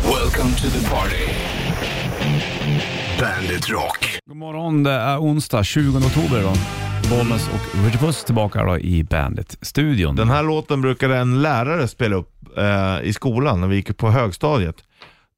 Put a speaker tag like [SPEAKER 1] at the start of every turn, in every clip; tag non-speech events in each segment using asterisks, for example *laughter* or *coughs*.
[SPEAKER 1] Welcome to the party. Bandit Rock.
[SPEAKER 2] God morgon, det är onsdag 20 oktober idag. Bollnäs och Richard Puss tillbaka då i Bandit-studion.
[SPEAKER 3] Den här låten brukade en lärare spela upp eh, i skolan när vi gick på högstadiet.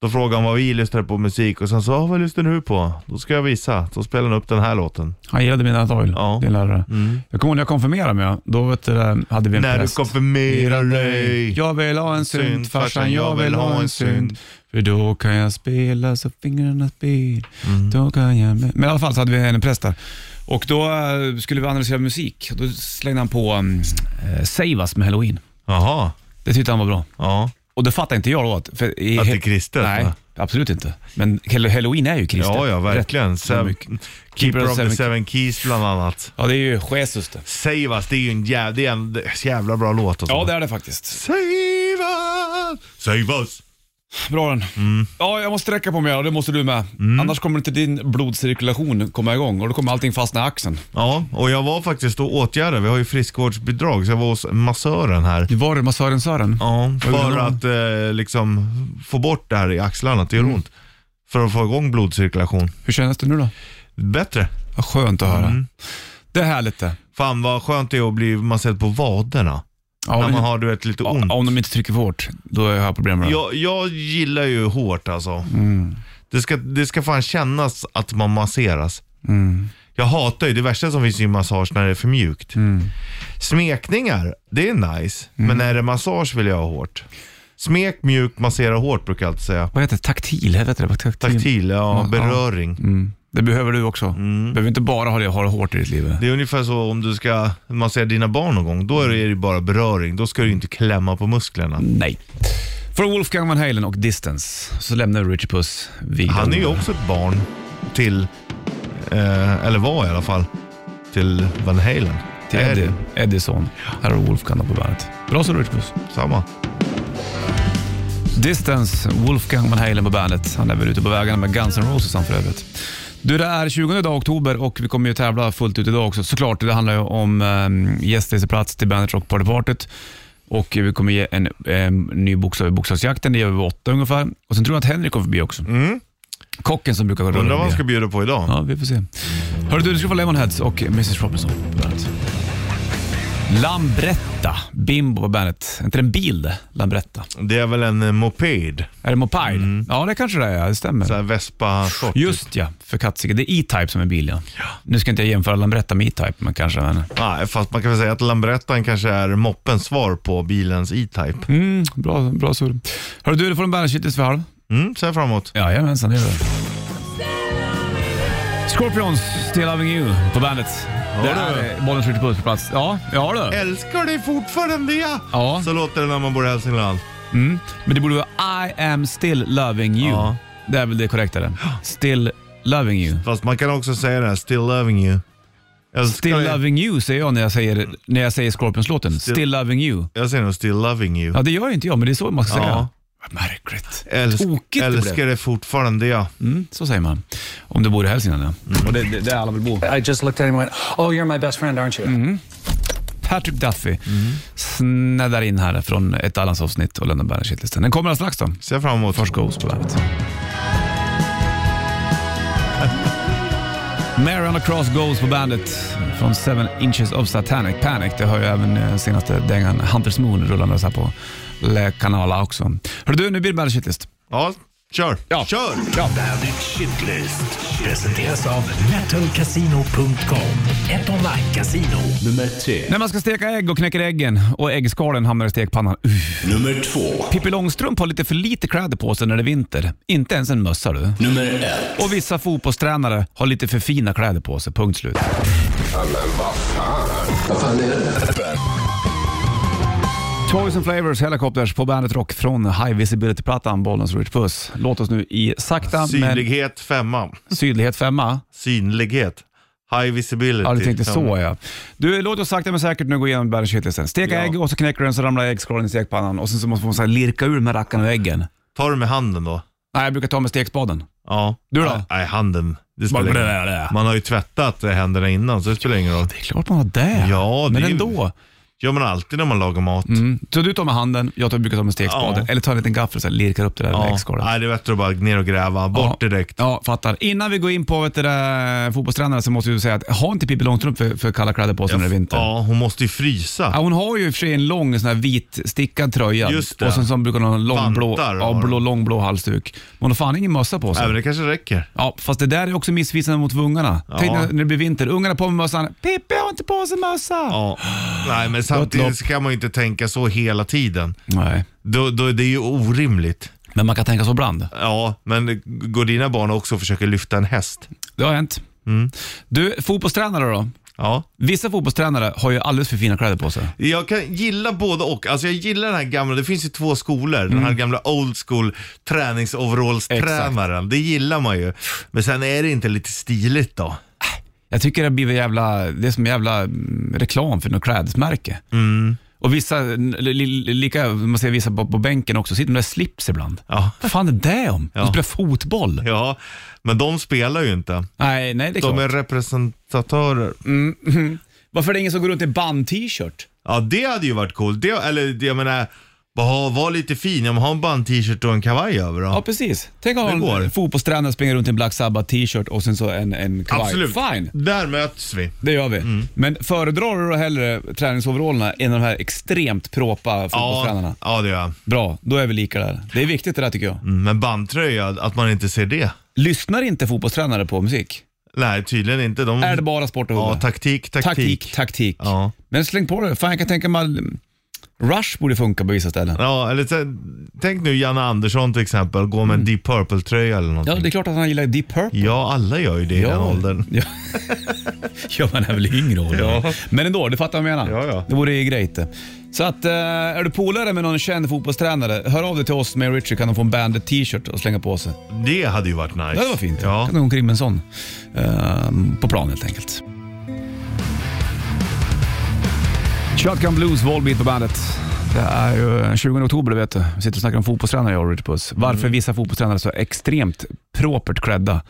[SPEAKER 3] Då frågade han vad vi lyssnade på musik och sen sa ah, vad lyssnar du på? Då ska jag visa. Då spelade han upp den här låten.
[SPEAKER 2] Han gillade Midnight Oil,
[SPEAKER 3] Ja.
[SPEAKER 2] din lärare. Jag kommer ihåg när jag konfirmerade mig, då vet du, eh, hade vi en
[SPEAKER 3] När du
[SPEAKER 2] präst.
[SPEAKER 3] konfirmerar dig.
[SPEAKER 2] Jag vill ha en synd, farsan jag vill ha en synd. För då kan jag spela så fingrarna spyr.
[SPEAKER 3] Mm.
[SPEAKER 2] Då kan jag... Men i alla fall så hade vi en präst där. Och då eh, skulle vi analysera musik. Då slängde han på um, Save Us med Halloween.
[SPEAKER 3] Jaha,
[SPEAKER 2] Det tyckte han var bra.
[SPEAKER 3] ja.
[SPEAKER 2] Och det fattar inte jag då. Att, för i
[SPEAKER 3] Att det är kristet,
[SPEAKER 2] Nej,
[SPEAKER 3] va?
[SPEAKER 2] absolut inte. Men hell- halloween är ju kristet.
[SPEAKER 3] Ja, ja, verkligen.
[SPEAKER 2] Rätt-
[SPEAKER 3] Seven,
[SPEAKER 2] mycket.
[SPEAKER 3] Keeper of the seven keys bland annat.
[SPEAKER 2] Ja, det är ju Jesus det.
[SPEAKER 3] Save us, det är ju en jävla, det är en jävla bra låt alltså.
[SPEAKER 2] Ja, det är det faktiskt.
[SPEAKER 3] Save us, save us.
[SPEAKER 2] Bra den. Ja, jag måste sträcka på mig och det måste du med. Annars kommer inte din blodcirkulation komma igång och då kommer allting fastna i axeln.
[SPEAKER 3] Ja, och jag var faktiskt då åtgärdad. Vi har ju friskvårdsbidrag, så jag var hos massören här.
[SPEAKER 2] Det var det massören Sören.
[SPEAKER 3] Ja, för
[SPEAKER 2] gjorde han?
[SPEAKER 3] att eh, liksom få bort det här i axlarna, att det gör
[SPEAKER 2] Mm.
[SPEAKER 3] ont. För att få igång blodcirkulation.
[SPEAKER 2] Hur känns det nu då? Mm.
[SPEAKER 3] Bättre.
[SPEAKER 2] Vad skönt att höra. Det är härligt det.
[SPEAKER 3] Fan vad skönt det är att bli masserad på vaderna.
[SPEAKER 2] Ja,
[SPEAKER 3] när
[SPEAKER 2] men-
[SPEAKER 3] man har du vet, lite ont.
[SPEAKER 2] ja, om de inte trycker för hårt, då har jag problem med det.
[SPEAKER 3] Jag, jag gillar ju hårt alltså.
[SPEAKER 2] Mm.
[SPEAKER 3] Det, ska, det ska fan kännas att man masseras.
[SPEAKER 2] Mm.
[SPEAKER 3] Jag hatar ju, det värsta som finns i massage när det är för mjukt.
[SPEAKER 2] Mm.
[SPEAKER 3] Smekningar, det är nice. Men när det är massage vill jag ha hårt. Smek, mjuk, massera hårt brukar jag alltid säga.
[SPEAKER 2] Vad heter det? Taktil? Heter det? Vad Taktil.
[SPEAKER 3] Taktil, ja,
[SPEAKER 2] Ja,
[SPEAKER 3] beröring.
[SPEAKER 2] Mm. Det behöver du också. behöver inte bara ha det, ha det hårt i ditt liv.
[SPEAKER 3] Det är ungefär så om du ska massera dina barn någon gång. Då är det ju bara beröring. Då ska du inte klämma på musklerna.
[SPEAKER 2] Nej. Från Wolfgang Van Halen och Distance så lämnar vi Richard Puss vid
[SPEAKER 3] Han är ju också ett barn till, eh, eller var i alla fall, till Van Halen.
[SPEAKER 2] till Eddie, Edison. Här har du Wolfgang då på bandet. Bra så Richard Puss.
[SPEAKER 3] Samma.
[SPEAKER 2] Distance, Wolfgang Van Halen på bandet. Han är väl ute på vägarna med Guns N' Roses han för övrigt. Du, det är 20 dag oktober och vi kommer ju tävla fullt ut idag också såklart. Det handlar ju om um, gästreseplats till Bandet Rock Party Partyt. Och vi kommer ge en em, ny bokstav i Bokstavsjakten. Det gör vi vid åtta ungefär. Och sen tror jag att Henrik kommer förbi också. Kocken som brukar gå runt.
[SPEAKER 3] Mm. Undrar vad
[SPEAKER 2] förbi.
[SPEAKER 3] han ska bjuda på idag.
[SPEAKER 2] Ja, vi får se. Hörru du, du ska få Lemonheads och Mrs Robinson på bandet. Lambretta, Bimbo på bandet. Är inte det en bil det? Lambretta?
[SPEAKER 3] Det är väl en eh, moped?
[SPEAKER 2] Är det Mopile? Ja, det kanske det är. Det stämmer.
[SPEAKER 3] Mm. Så här typ. Vespa-sort.
[SPEAKER 2] Just ja, för kattsiket. Det är E-Type som är bil ja. Nu ska inte jag jämföra Lambretta med E-Type, men kanske. Men...
[SPEAKER 3] Nej, fast man kan väl säga att Lambrettan kanske är moppens svar på bilens E-Type. Mm,
[SPEAKER 2] Mm, bra, bra surr. Hörru du, du får en bandet för halv.
[SPEAKER 3] så här framåt.
[SPEAKER 2] Jajamensan, det är det. Scorpions, Still Loving You på bandet. det
[SPEAKER 3] du. Eh.
[SPEAKER 2] är eh, bollen skjuter puss på plats. Ja, ja du.
[SPEAKER 3] Älskar dig fortfarande ja.
[SPEAKER 2] Ja.
[SPEAKER 3] Så låter det när man bor i Hälsingland.
[SPEAKER 2] Men det borde vara I am still loving you.
[SPEAKER 3] Ja.
[SPEAKER 2] Det är väl det korrekta det. Still loving you.
[SPEAKER 3] Fast man kan också säga det här, still loving you. Jag ska-
[SPEAKER 2] Still loving you säger jag när jag säger, när jag säger Scorpions-låten. Still, loving you.
[SPEAKER 3] Jag säger nog still loving you.
[SPEAKER 2] Ja, det gör ju inte jag, men det är så man ska
[SPEAKER 3] Ja.
[SPEAKER 2] säga. Vad märkligt.
[SPEAKER 3] Älsk,
[SPEAKER 2] Tokigt det blev.
[SPEAKER 3] älskar det fortfarande ja.
[SPEAKER 2] Mm, så säger man. Om du bor i Hälsingland ja. Mm. Och det, det, det är alla vill bo.
[SPEAKER 4] I just looked at him and went, Oh, you're my best friend, aren't you?
[SPEAKER 2] Patrick Duffy snäddar in här från ett Allans-avsnitt och lämnar bandet shitlisten. Den kommer alldeles strax då.
[SPEAKER 3] Ser fram emot.
[SPEAKER 2] Först Ghost på bandet. Mariana Cross Goes på bandet från Seven Inches of Satanic Panic. Det har ju även eh, senaste dängan Hunters Moon rullandes här på Le Canala också. Hör du, nu blir det Bandet Shitlist.
[SPEAKER 3] Ja, kör.
[SPEAKER 2] Ja.
[SPEAKER 3] Kör!
[SPEAKER 2] Ja.
[SPEAKER 1] Bandit Shitlist. Presenteras av
[SPEAKER 5] metalcasino.com. Ett online-casino.
[SPEAKER 1] nummer tre.
[SPEAKER 2] När man ska steka ägg och knäcker äggen och äggskalen hamnar i stekpannan. Uff.
[SPEAKER 1] Nummer två.
[SPEAKER 2] Pippi Långstrump har lite för lite kläder på sig när det är vinter. Inte ens en mössa du.
[SPEAKER 1] Nummer ett.
[SPEAKER 2] Och vissa fotbollstränare har lite för fina kläder på sig. Punkt slut. Toys and Flavors Helicopters på bandet Rock från High Visibility-plattan Bollnäs Rich Puss. Låt oss nu i sakta men
[SPEAKER 3] Synlighet femma.
[SPEAKER 2] sydlighet femma.
[SPEAKER 3] Synlighet. High visibility.
[SPEAKER 2] Ja, du tänkte så ja. Du, låt oss sakta men säkert nu gå igenom bandet shitlisten. Steka
[SPEAKER 3] Ja.
[SPEAKER 2] ägg och så knäcker du den så ramlar äggskalen i stekpannan och sen så måste man så här lirka ur med rackarna och äggen.
[SPEAKER 3] Ta det med handen då.
[SPEAKER 2] Nej, jag brukar ta med stekspaden.
[SPEAKER 3] Ja.
[SPEAKER 2] Du då?
[SPEAKER 3] Nej, handen. Det spelar
[SPEAKER 2] Bara-
[SPEAKER 3] ingen roll. Man har ju tvättat eh, händerna innan så det spelar ingen roll.
[SPEAKER 2] Det är klart man har det.
[SPEAKER 3] Ja, det
[SPEAKER 2] men
[SPEAKER 3] är ju-
[SPEAKER 2] ändå.
[SPEAKER 3] gör man alltid när man lagar mat.
[SPEAKER 2] Mm. Så du tar med handen, jag tar, brukar ta med stekspade.
[SPEAKER 3] Ja.
[SPEAKER 2] Eller ta en liten gaffel och så här, lirkar upp det där med
[SPEAKER 3] Ja.
[SPEAKER 2] äggskalen.
[SPEAKER 3] Nej, det är bättre att bara ner och gräva. Bort
[SPEAKER 2] Ja.
[SPEAKER 3] direkt.
[SPEAKER 2] Ja, fattar. Innan vi går in på vet du, det, fotbollstränarna så måste vi säga att ha inte Pippi Långstrump för, för kalla kläder på sig när det är vinter. Ja.
[SPEAKER 3] Ja, hon måste ju frysa.
[SPEAKER 2] hon har ju i och för sig en lång sån här vit stickad tröja
[SPEAKER 3] Just det.
[SPEAKER 2] och sen så brukar hon ha en lång blå,
[SPEAKER 3] Vantar har
[SPEAKER 2] ja,
[SPEAKER 3] hon.
[SPEAKER 2] blå, lång blå halsduk. Men hon har fan ingen mössa på sig.
[SPEAKER 3] Nej, men det kanske räcker.
[SPEAKER 2] Ja, fast det där är också missvisande mot ungarna. Tänk när, när det blir vinter. Ungarna på med mössan. Pippi har inte på sig mössa.
[SPEAKER 3] Ja. Nej, men
[SPEAKER 2] lopp.
[SPEAKER 3] samtidigt så kan man ju inte tänka så hela tiden.
[SPEAKER 2] Nej,
[SPEAKER 3] Då, då, det är ju orimligt.
[SPEAKER 2] men man kan tänka så ibland.
[SPEAKER 3] Ja, men går dina barn också och försöker lyfta en häst?
[SPEAKER 2] Det har hänt.
[SPEAKER 3] Mm.
[SPEAKER 2] Du, fotbollstränare då?
[SPEAKER 3] Ja.
[SPEAKER 2] Vissa fotbollstränare har ju alldeles för fina kläder på sig.
[SPEAKER 3] Jag kan gilla både och. Alltså jag gillar den här gamla, det finns ju två skolor. Den här
[SPEAKER 2] Mm.
[SPEAKER 3] gamla old school träningsoverallstränaren. Det gillar man ju. Men sen är det inte lite stiligt då?
[SPEAKER 2] Jag tycker det blir väl jävla, det är som jävla mm, reklam för något klädesmärke.
[SPEAKER 3] Mm.
[SPEAKER 2] Och vissa, n- li, li, lika, man ser vissa på, på bänken också, sitter med där slips ibland.
[SPEAKER 3] Ja. *laughs*
[SPEAKER 2] Vad fan är det om? De
[SPEAKER 3] Ja.
[SPEAKER 2] spelar fotboll.
[SPEAKER 3] Ja, men de spelar ju inte.
[SPEAKER 2] Nej, nej det är klart. Mm.
[SPEAKER 3] De är representatörer.
[SPEAKER 2] Varför är det ingen som går runt i band-t-shirt?
[SPEAKER 3] Ja, det hade ju varit coolt. Det, eller det- jag menar, bara var lite fin. Ja, men ha en band-t-shirt och en kavaj över då.
[SPEAKER 2] Ja, precis. Tänk
[SPEAKER 3] Det
[SPEAKER 2] om
[SPEAKER 3] går.
[SPEAKER 2] en fotbollstränare springer runt i en Black Sabbath-t-shirt och sen så en, en kavaj.
[SPEAKER 3] Absolut. Mm.
[SPEAKER 2] Fine.
[SPEAKER 3] Där möts vi.
[SPEAKER 2] Det gör vi. Men föredrar du då hellre träningsoverallerna än de här extremt propa fotbollstränarna?
[SPEAKER 3] Ja, ja, det gör jag.
[SPEAKER 2] Bra, då är vi lika där. Det är viktigt det där tycker jag.
[SPEAKER 3] Mm, Men bandtröja, att man inte ser det.
[SPEAKER 2] Lyssnar inte fotbollstränare på musik?
[SPEAKER 3] Nej, tydligen inte. De...
[SPEAKER 2] Är det bara sport och
[SPEAKER 3] Mm. Ja,
[SPEAKER 2] huvud?
[SPEAKER 3] taktik, taktik.
[SPEAKER 2] taktik, taktik.
[SPEAKER 3] Ja.
[SPEAKER 2] Men släng på det. Fan, jag kan tänka mig all... Rush borde funka på vissa ställen.
[SPEAKER 3] Ja, eller så, tänk nu Janne Andersson till exempel, gå med en Deep Purple-tröja
[SPEAKER 2] Mm.
[SPEAKER 3] eller
[SPEAKER 2] Ja,
[SPEAKER 3] någonting.
[SPEAKER 2] det är klart att han gillar Deep Purple.
[SPEAKER 3] Ja, alla gör ju det i den åldern. *laughs*
[SPEAKER 2] Ja. ja, man är väl yngre ålder.
[SPEAKER 3] Ja.
[SPEAKER 2] Men ändå, du fattar vad jag menar.
[SPEAKER 3] Ja, ja.
[SPEAKER 2] Det vore ju grejt det. Så att, eh, är du polare med någon känd fotbollstränare, hör av dig till oss med Richard kan de få en bandet t-shirt och slänga på sig.
[SPEAKER 3] Det hade ju varit nice.
[SPEAKER 2] Ja, det var fint.
[SPEAKER 3] Ja.
[SPEAKER 2] Kan gå omkring med en sån ehm, på plan helt enkelt. Shotgun Blues, Volbeat på bandet. Det är ju den 20 oktober, du vet du. Vi sitter och snackar om fotbollstränare, jag och Rich Puss. Varför vissa fotbollstränare är så extremt propert klädda.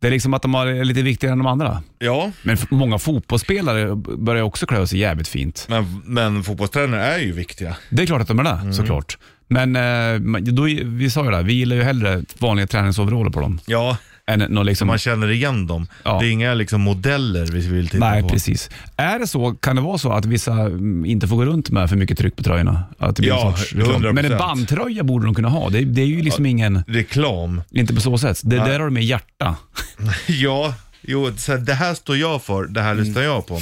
[SPEAKER 2] Det är liksom att de har- är lite viktigare än de andra.
[SPEAKER 3] ja.
[SPEAKER 2] Men f- många fotbollsspelare börjar också klä sig jävligt fint.
[SPEAKER 3] Men, men fotbollstränare är ju viktiga.
[SPEAKER 2] Det är klart att de är det, såklart. Men eh, man- då, vi sa ju det, här, vi gillar ju hellre vanliga träningsoveraller på dem.
[SPEAKER 3] Ja,
[SPEAKER 2] Än någon liksom...
[SPEAKER 3] man känner igen dem.
[SPEAKER 2] Ja.
[SPEAKER 3] Det är inga liksom modeller vi vill titta
[SPEAKER 2] Nej,
[SPEAKER 3] på.
[SPEAKER 2] precis. Är det så, kan det vara så att vissa mm, inte får gå runt med för mycket tryck på tröjorna? Att det blir en
[SPEAKER 3] Ja,
[SPEAKER 2] sorts reklam?
[SPEAKER 3] 100%.
[SPEAKER 2] Men en bandtröja borde de kunna ha. Det, det är ju liksom ingen,
[SPEAKER 3] Reklam. *laughs*
[SPEAKER 2] inte på så sätt. Det där har de med hjärta.
[SPEAKER 3] Ja, jo, så här, det här står jag för, det här
[SPEAKER 2] Mm.
[SPEAKER 3] lyssnar jag på.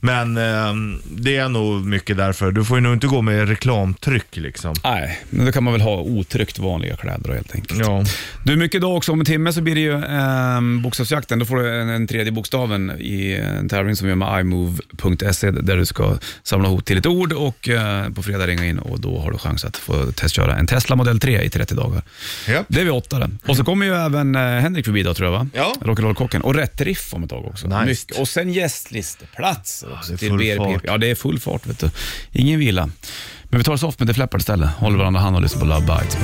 [SPEAKER 3] Men ehm, det är nog mycket därför. Du får ju nog inte gå med reklamtryck liksom.
[SPEAKER 2] Nej, men då kan man väl ha otryckt vanliga kläder då, helt enkelt.
[SPEAKER 3] Ja.
[SPEAKER 2] Du, mycket idag också. Om en timme så blir det ju ehm, bokstavsjakten. Då får du en, en tredje bokstaven i en tävling som vi gör med imove.se där du ska samla ihop till ett ord och eh, på fredag ringa in och då har du chans att få testköra en Tesla Model 3 i 30 dagar.
[SPEAKER 3] Japp.
[SPEAKER 2] Det är vi åtta den. Och så kommer ju även eh, Henrik förbi idag tror jag va?
[SPEAKER 3] Ja.
[SPEAKER 2] Rock'n'roll-kocken. Och rätt riff om ett tag också.
[SPEAKER 3] Nice.
[SPEAKER 2] Mycket. Och sen gästlisteplatser också
[SPEAKER 3] det är
[SPEAKER 2] till
[SPEAKER 3] full
[SPEAKER 2] BRP.
[SPEAKER 3] fart.
[SPEAKER 2] Ja, det är full fart vet du. Ingen vila. Men vi tar oss off med The Flappard istället. Håller varandra i hand och lyssnar på Love Bites.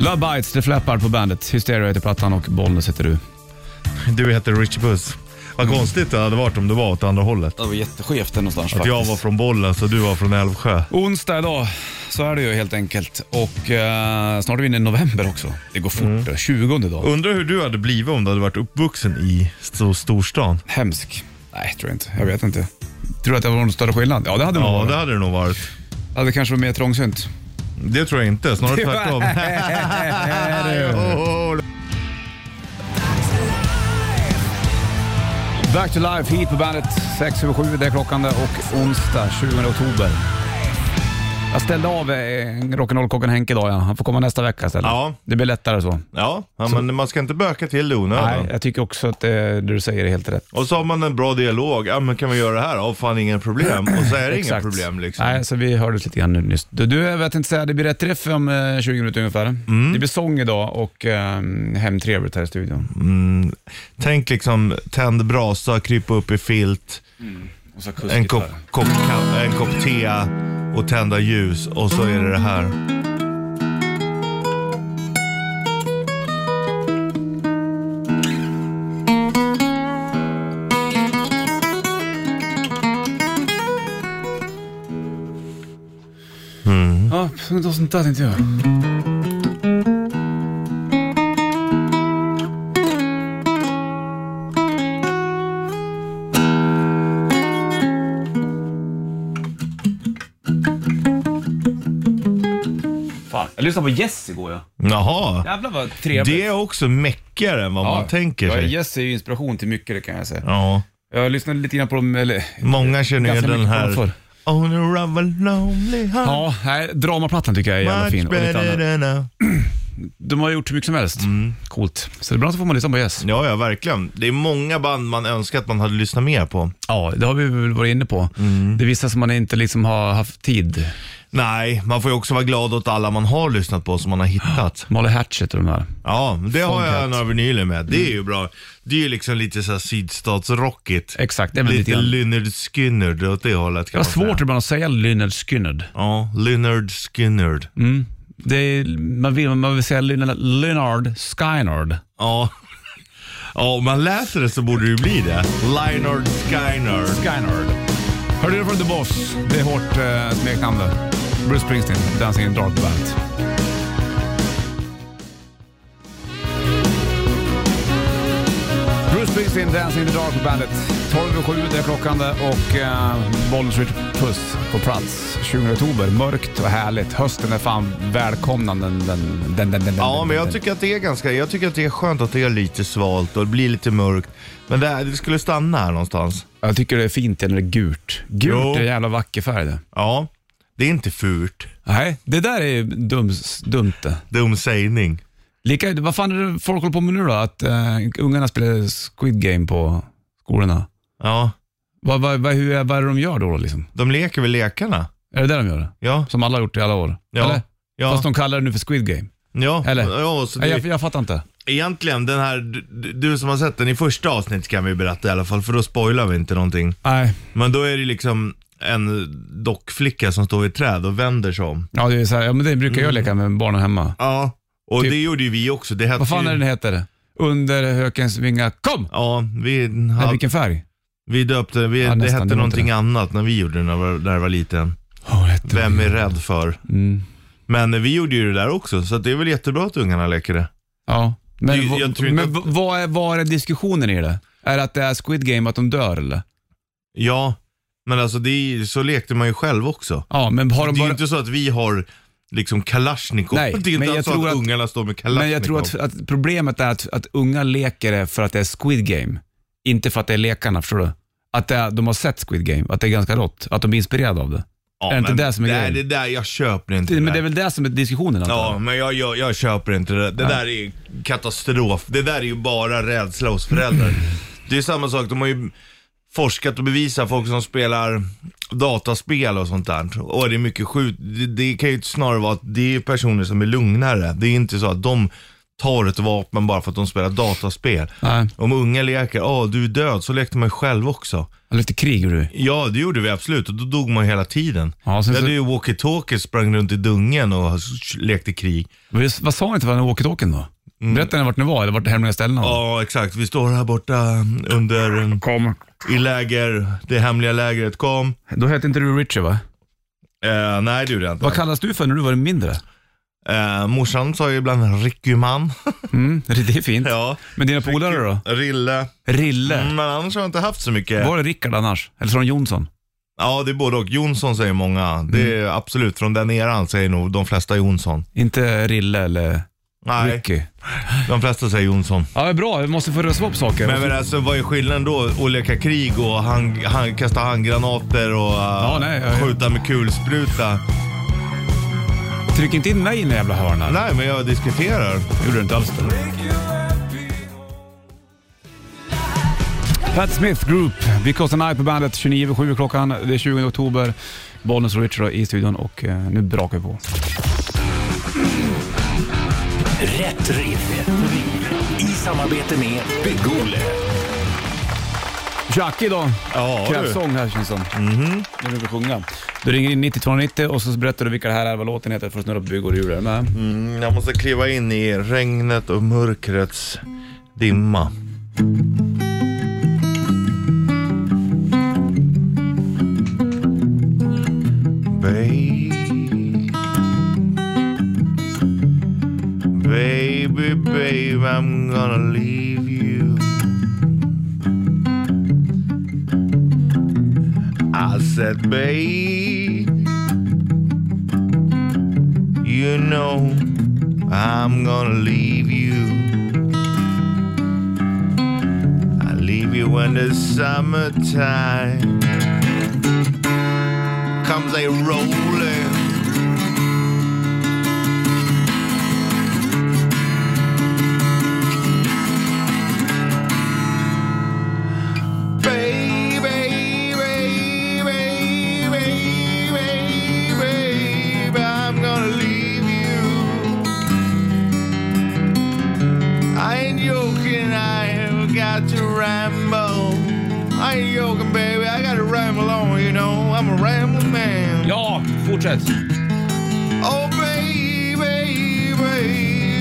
[SPEAKER 2] Love Bites, The Flappard på bandet. Hysteria heter plattan och Bollnäs heter du.
[SPEAKER 3] Du heter Richie Puss. Vad konstigt det hade varit om du var åt andra hållet.
[SPEAKER 2] Det var jätteskevt där någonstans
[SPEAKER 3] Att jag var från bollen så du var från Älvsjö.
[SPEAKER 2] Onsdag idag, så är det ju helt enkelt. Och eh, snart är vi inne i november också. Det går fort. Mm. 20 idag.
[SPEAKER 3] Undrar hur du hade blivit om du hade varit uppvuxen i st- storstan.
[SPEAKER 2] Hemsk? Nej, tror jag inte. Jag vet inte. Tror du att det var någon större skillnad? Ja, det hade det nog
[SPEAKER 3] Ja,
[SPEAKER 2] varit.
[SPEAKER 3] det hade det nog varit.
[SPEAKER 2] Det hade kanske varit mer trångsynt.
[SPEAKER 3] Det tror jag inte, snarare *laughs* tvärtom.
[SPEAKER 2] Back to life hit på bandet. 6 över 7, det är klockan det och onsdag 20 oktober. Jag ställde av eh, rock'n'roll-kocken Henke idag. Ja. Han får komma nästa vecka istället.
[SPEAKER 3] Ja.
[SPEAKER 2] Det blir lättare så.
[SPEAKER 3] Ja, ja, men man ska inte böka till det i
[SPEAKER 2] Nej,
[SPEAKER 3] onödan.
[SPEAKER 2] jag tycker också att eh, det du säger är helt rätt.
[SPEAKER 3] Och så har man en bra dialog. Ja, men kan vi göra det här? Ja, fan inga problem. Och *clears throat* så är det inga
[SPEAKER 2] Exakt.
[SPEAKER 3] problem liksom.
[SPEAKER 2] Nej, så vi hördes lite grann nu nyss. Du, du jag vet inte säga, det blir rätt träff om eh, 20 minuter ungefär.
[SPEAKER 3] Mm.
[SPEAKER 2] Det blir sång idag och eh, hemtrevligt här i studion.
[SPEAKER 3] Tänk liksom, tänd brasa, krypa upp i filt,
[SPEAKER 2] Och så
[SPEAKER 3] en kopp, kopp, ka- en kopp te och tända ljus. Och så är det det här.
[SPEAKER 2] kan man ta sånt där tänkte jag. Fan, jag lyssnade på Yes igår ja.
[SPEAKER 3] Jaha.
[SPEAKER 2] Jävlar vad trevligt.
[SPEAKER 3] Det är också mäckigare än vad man tänker
[SPEAKER 2] ja,
[SPEAKER 3] sig.
[SPEAKER 2] Yes är ju inspiration till mycket det kan jag säga.
[SPEAKER 3] Ja.
[SPEAKER 2] Jag lyssnade lite grann på dem, eller...
[SPEAKER 3] Många känner ju
[SPEAKER 2] Ganska
[SPEAKER 3] den
[SPEAKER 2] mycket
[SPEAKER 3] här...
[SPEAKER 2] för.
[SPEAKER 3] On a rubber lonely heart.
[SPEAKER 2] Ja, nej, dramaplattan tycker jag är jävla fin.
[SPEAKER 3] Much
[SPEAKER 2] Och lite
[SPEAKER 3] better
[SPEAKER 2] annat.
[SPEAKER 3] than a...
[SPEAKER 2] De har gjort hur mycket som helst.
[SPEAKER 3] Mm.
[SPEAKER 2] Coolt. Så ibland så får man lyssna på Yes.
[SPEAKER 3] Ja, ja, verkligen. Det är många band man önskar att man hade lyssnat mer på.
[SPEAKER 2] Ja, det har vi väl varit inne på. Det är vissa som man inte liksom har haft tid.
[SPEAKER 3] Nej, man får ju också vara glad åt alla man har lyssnat på som man har hittat.
[SPEAKER 2] Molly Hatchet och de här.
[SPEAKER 3] *gasps* Ja, det har jag
[SPEAKER 2] Foghat.
[SPEAKER 3] några vinyler med. Det är ju
[SPEAKER 2] Mm.
[SPEAKER 3] bra. Det är ju liksom lite såhär sydstatsrockigt.
[SPEAKER 2] Exakt, det är väl lite
[SPEAKER 3] Lite
[SPEAKER 2] grann.
[SPEAKER 3] Lynyrd Skynyrd åt det hållet
[SPEAKER 2] Det
[SPEAKER 3] kan
[SPEAKER 2] var
[SPEAKER 3] man säga.
[SPEAKER 2] svårt ibland att säga Lynyrd Skynyrd.
[SPEAKER 3] Ja, Lynyrd Skynyrd.
[SPEAKER 2] Det är, man, vill, man vill säga Lynyrd, Lynyrd Skynyrd.
[SPEAKER 3] Ja. Ja, om man läser det så borde det ju bli det. Lynyrd Skynyrd.
[SPEAKER 2] Skynyrd. Hörde du det från The Boss? Det är hårt eh, smeknamn det. Bruce Springsteen, Dancing in the Dark Bandet. Bruce Springsteen, Dancing in the Dark Bandet. 12 och 7, det är klockan det och eh, Bollnäs Puss på plats 20 oktober. Mörkt och härligt. Hösten är fan välkomnande. Den, den, den, den, den,
[SPEAKER 3] Ja,
[SPEAKER 2] den,
[SPEAKER 3] men jag
[SPEAKER 2] den.
[SPEAKER 3] tycker att det är ganska, jag tycker att det är skönt att det är lite svalt och det blir lite mörkt. Men det, här, det skulle stanna här någonstans.
[SPEAKER 2] jag tycker det är fint när det är gult. Gult
[SPEAKER 3] Jo.
[SPEAKER 2] är en jävla vacker färg det.
[SPEAKER 3] Ja, det är inte fult.
[SPEAKER 2] Nej, det där är dum, dumt det.
[SPEAKER 3] Dum sägning.
[SPEAKER 2] Lika, vad fan är det folk håller på med nu då? Att eh, ungarna spelar Squid Game på skolorna.
[SPEAKER 3] Ja,
[SPEAKER 2] Vad, vad, vad, hur, är- vad är det de gör då? då liksom?
[SPEAKER 3] de leker väl lekarna?
[SPEAKER 2] Är det det de gör?
[SPEAKER 3] Ja.
[SPEAKER 2] Som alla har gjort i alla år?
[SPEAKER 3] Ja.
[SPEAKER 2] Eller?
[SPEAKER 3] Ja.
[SPEAKER 2] Fast de kallar det nu för Squid Game.
[SPEAKER 3] Ja,
[SPEAKER 2] Eller?
[SPEAKER 3] ja så
[SPEAKER 2] Nej,
[SPEAKER 3] det,
[SPEAKER 2] jag, jag fattar inte.
[SPEAKER 3] egentligen den här, du, du som har sett den i första avsnittet kan vi berätta i alla fall, för då spoilar vi inte någonting.
[SPEAKER 2] Nej,
[SPEAKER 3] Men då är det liksom en dockflicka som står i ett träd och vänder sig om.
[SPEAKER 2] ja, det, är så här, ja, men det brukar jag
[SPEAKER 3] Mm.
[SPEAKER 2] leka med barnen hemma.
[SPEAKER 3] Ja, och
[SPEAKER 2] Typ.
[SPEAKER 3] det gjorde ju vi också. Det hette
[SPEAKER 2] Vad fan
[SPEAKER 3] ju-
[SPEAKER 2] är den heter? Under hökens vingar, kom!
[SPEAKER 3] Ja, vi,
[SPEAKER 2] Nej,
[SPEAKER 3] hade-
[SPEAKER 2] vilken färg?
[SPEAKER 3] vi döpte, vi,
[SPEAKER 2] Ja,
[SPEAKER 3] det
[SPEAKER 2] nästan, det var
[SPEAKER 3] hette
[SPEAKER 2] inte
[SPEAKER 3] någonting
[SPEAKER 2] det.
[SPEAKER 3] annat när vi gjorde det när jag var, när jag var liten.
[SPEAKER 2] Ja, vad heter
[SPEAKER 3] Vem
[SPEAKER 2] den?
[SPEAKER 3] är rädd för?
[SPEAKER 2] Mm.
[SPEAKER 3] Men vi gjorde ju det där också, så att det är väl jättebra att ungarna leker det.
[SPEAKER 2] Ja.
[SPEAKER 3] Det-
[SPEAKER 2] Men,
[SPEAKER 3] jag
[SPEAKER 2] vad-
[SPEAKER 3] tror inte
[SPEAKER 2] men
[SPEAKER 3] att-
[SPEAKER 2] v- vad, är, vad är diskussionen i det? Är det att det är Squid Game, att de dör eller?
[SPEAKER 3] Ja, men alltså det är, så lekte man ju själv också.
[SPEAKER 2] Ja, men har de
[SPEAKER 3] Det är ju
[SPEAKER 2] bara...
[SPEAKER 3] inte så att vi har liksom Kalashnikov.
[SPEAKER 2] Nej,
[SPEAKER 3] *laughs* det är inte
[SPEAKER 2] men jag
[SPEAKER 3] så
[SPEAKER 2] tror
[SPEAKER 3] att,
[SPEAKER 2] att-
[SPEAKER 3] ungarna står med Kalashnikov.
[SPEAKER 2] Men jag tror att, att problemet är att, att unga leker det för att det är Squid Game. Inte för att det är lekarna, förstår du? Att det är, de har sett Squid Game, att det är ganska rått. Att de är inspirerade av det.
[SPEAKER 3] ja,
[SPEAKER 2] är det inte
[SPEAKER 3] men
[SPEAKER 2] det som är
[SPEAKER 3] nej,
[SPEAKER 2] grejen?
[SPEAKER 3] det där, jag köper inte
[SPEAKER 2] det
[SPEAKER 3] det
[SPEAKER 2] men det
[SPEAKER 3] där.
[SPEAKER 2] är väl det som är diskussionen? antar
[SPEAKER 3] Ja,
[SPEAKER 2] jag.
[SPEAKER 3] men jag, jag, jag köper inte det. Det där är ju katastrof. Det där är ju bara rädsla hos
[SPEAKER 2] *clears throat*
[SPEAKER 3] föräldrar. Det är samma sak, de har ju forskat och bevisat folk som spelar dataspel och sånt där. Och det är mycket skjut. Det, det kan ju snarare vara att det är personer som är lugnare. Det är inte så att de tar ett vapen bara för att de spelar dataspel.
[SPEAKER 2] Nej,
[SPEAKER 3] Om unga leker, ja du är död, så lekte man ju själv också.
[SPEAKER 2] lite krig gjorde du.
[SPEAKER 3] Ja, det gjorde vi absolut och då dog man hela tiden.
[SPEAKER 2] Ja,
[SPEAKER 3] Vi
[SPEAKER 2] sen
[SPEAKER 3] hade
[SPEAKER 2] så,
[SPEAKER 3] ju walkie-talkies, sprang runt i dungen och lekte krig.
[SPEAKER 2] vad sa ni till varandra i walkie-talkien då? Berättade ni vart ni var eller vart de hemliga ställena var?
[SPEAKER 3] Ja, exakt. Vi står här borta under, um,
[SPEAKER 2] Kom.
[SPEAKER 3] i läger, det hemliga lägret. Kom.
[SPEAKER 2] Då hette inte du Richard va?
[SPEAKER 3] Eh, nej, det gjorde jag inte.
[SPEAKER 2] Vad kallas du för när du var mindre?
[SPEAKER 3] Eh, morsan sa ju ibland Rickyman.
[SPEAKER 2] Mm, *laughs* det är fint.
[SPEAKER 3] *laughs* ja.
[SPEAKER 2] Men dina polare då?
[SPEAKER 3] Rille. Mm,
[SPEAKER 2] Rille?
[SPEAKER 3] Men annars har jag inte haft så mycket.
[SPEAKER 2] Var det Rickard annars? Eller sa de Jonsson?
[SPEAKER 3] Ja, det är både och. Jonsson säger många.
[SPEAKER 2] Mm.
[SPEAKER 3] Det är absolut, från den eran säger nog de flesta Jonsson.
[SPEAKER 2] Inte Rille eller
[SPEAKER 3] Nej,
[SPEAKER 2] Ricky?
[SPEAKER 3] de flesta säger Jonsson.
[SPEAKER 2] Ja, bra. Vi måste få rösta upp saker.
[SPEAKER 3] Men, men alltså vad är skillnaden då? Att leka krig och hand, hand, kasta handgranater och eh,
[SPEAKER 2] nej, ja, ja.
[SPEAKER 3] skjuta med kulspruta.
[SPEAKER 2] Tryck inte in mig i den jävla hörnan.
[SPEAKER 3] Nej, men jag diskuterar.
[SPEAKER 2] gjorde du inte alls det. Pat Smith Group, Because the Night på bandet, 29.07 klockan. Det är 20 oktober. Bollnäs och Richard i studion och eh, nu brakar vi på.
[SPEAKER 5] Rätt riff. I samarbete med
[SPEAKER 1] Gole.
[SPEAKER 2] Jackie då.
[SPEAKER 3] Ja, du.
[SPEAKER 2] Kräftsång här känns det som. Nu vill vi sjunga. Du ringer in 9290 och så berättar du vilka det här är, vad låten heter, för att snurra på bygg och hjul. Är du med?
[SPEAKER 3] Mm, Jag måste kliva in i regnet och mörkrets dimma. Babe, baby, babe, I'm gonna leave you. I said, babe, you know I'm gonna leave you. I leave you in the summertime. Comes a rolling. Baby, baby, baby, baby, I'm gonna leave you. I ain't joking, I've got to ramble. I ain't joking, baby, I gotta ramble on, you know. I'm a ramble man.
[SPEAKER 2] Ja, fortsätt.
[SPEAKER 3] Oh, baby, baby,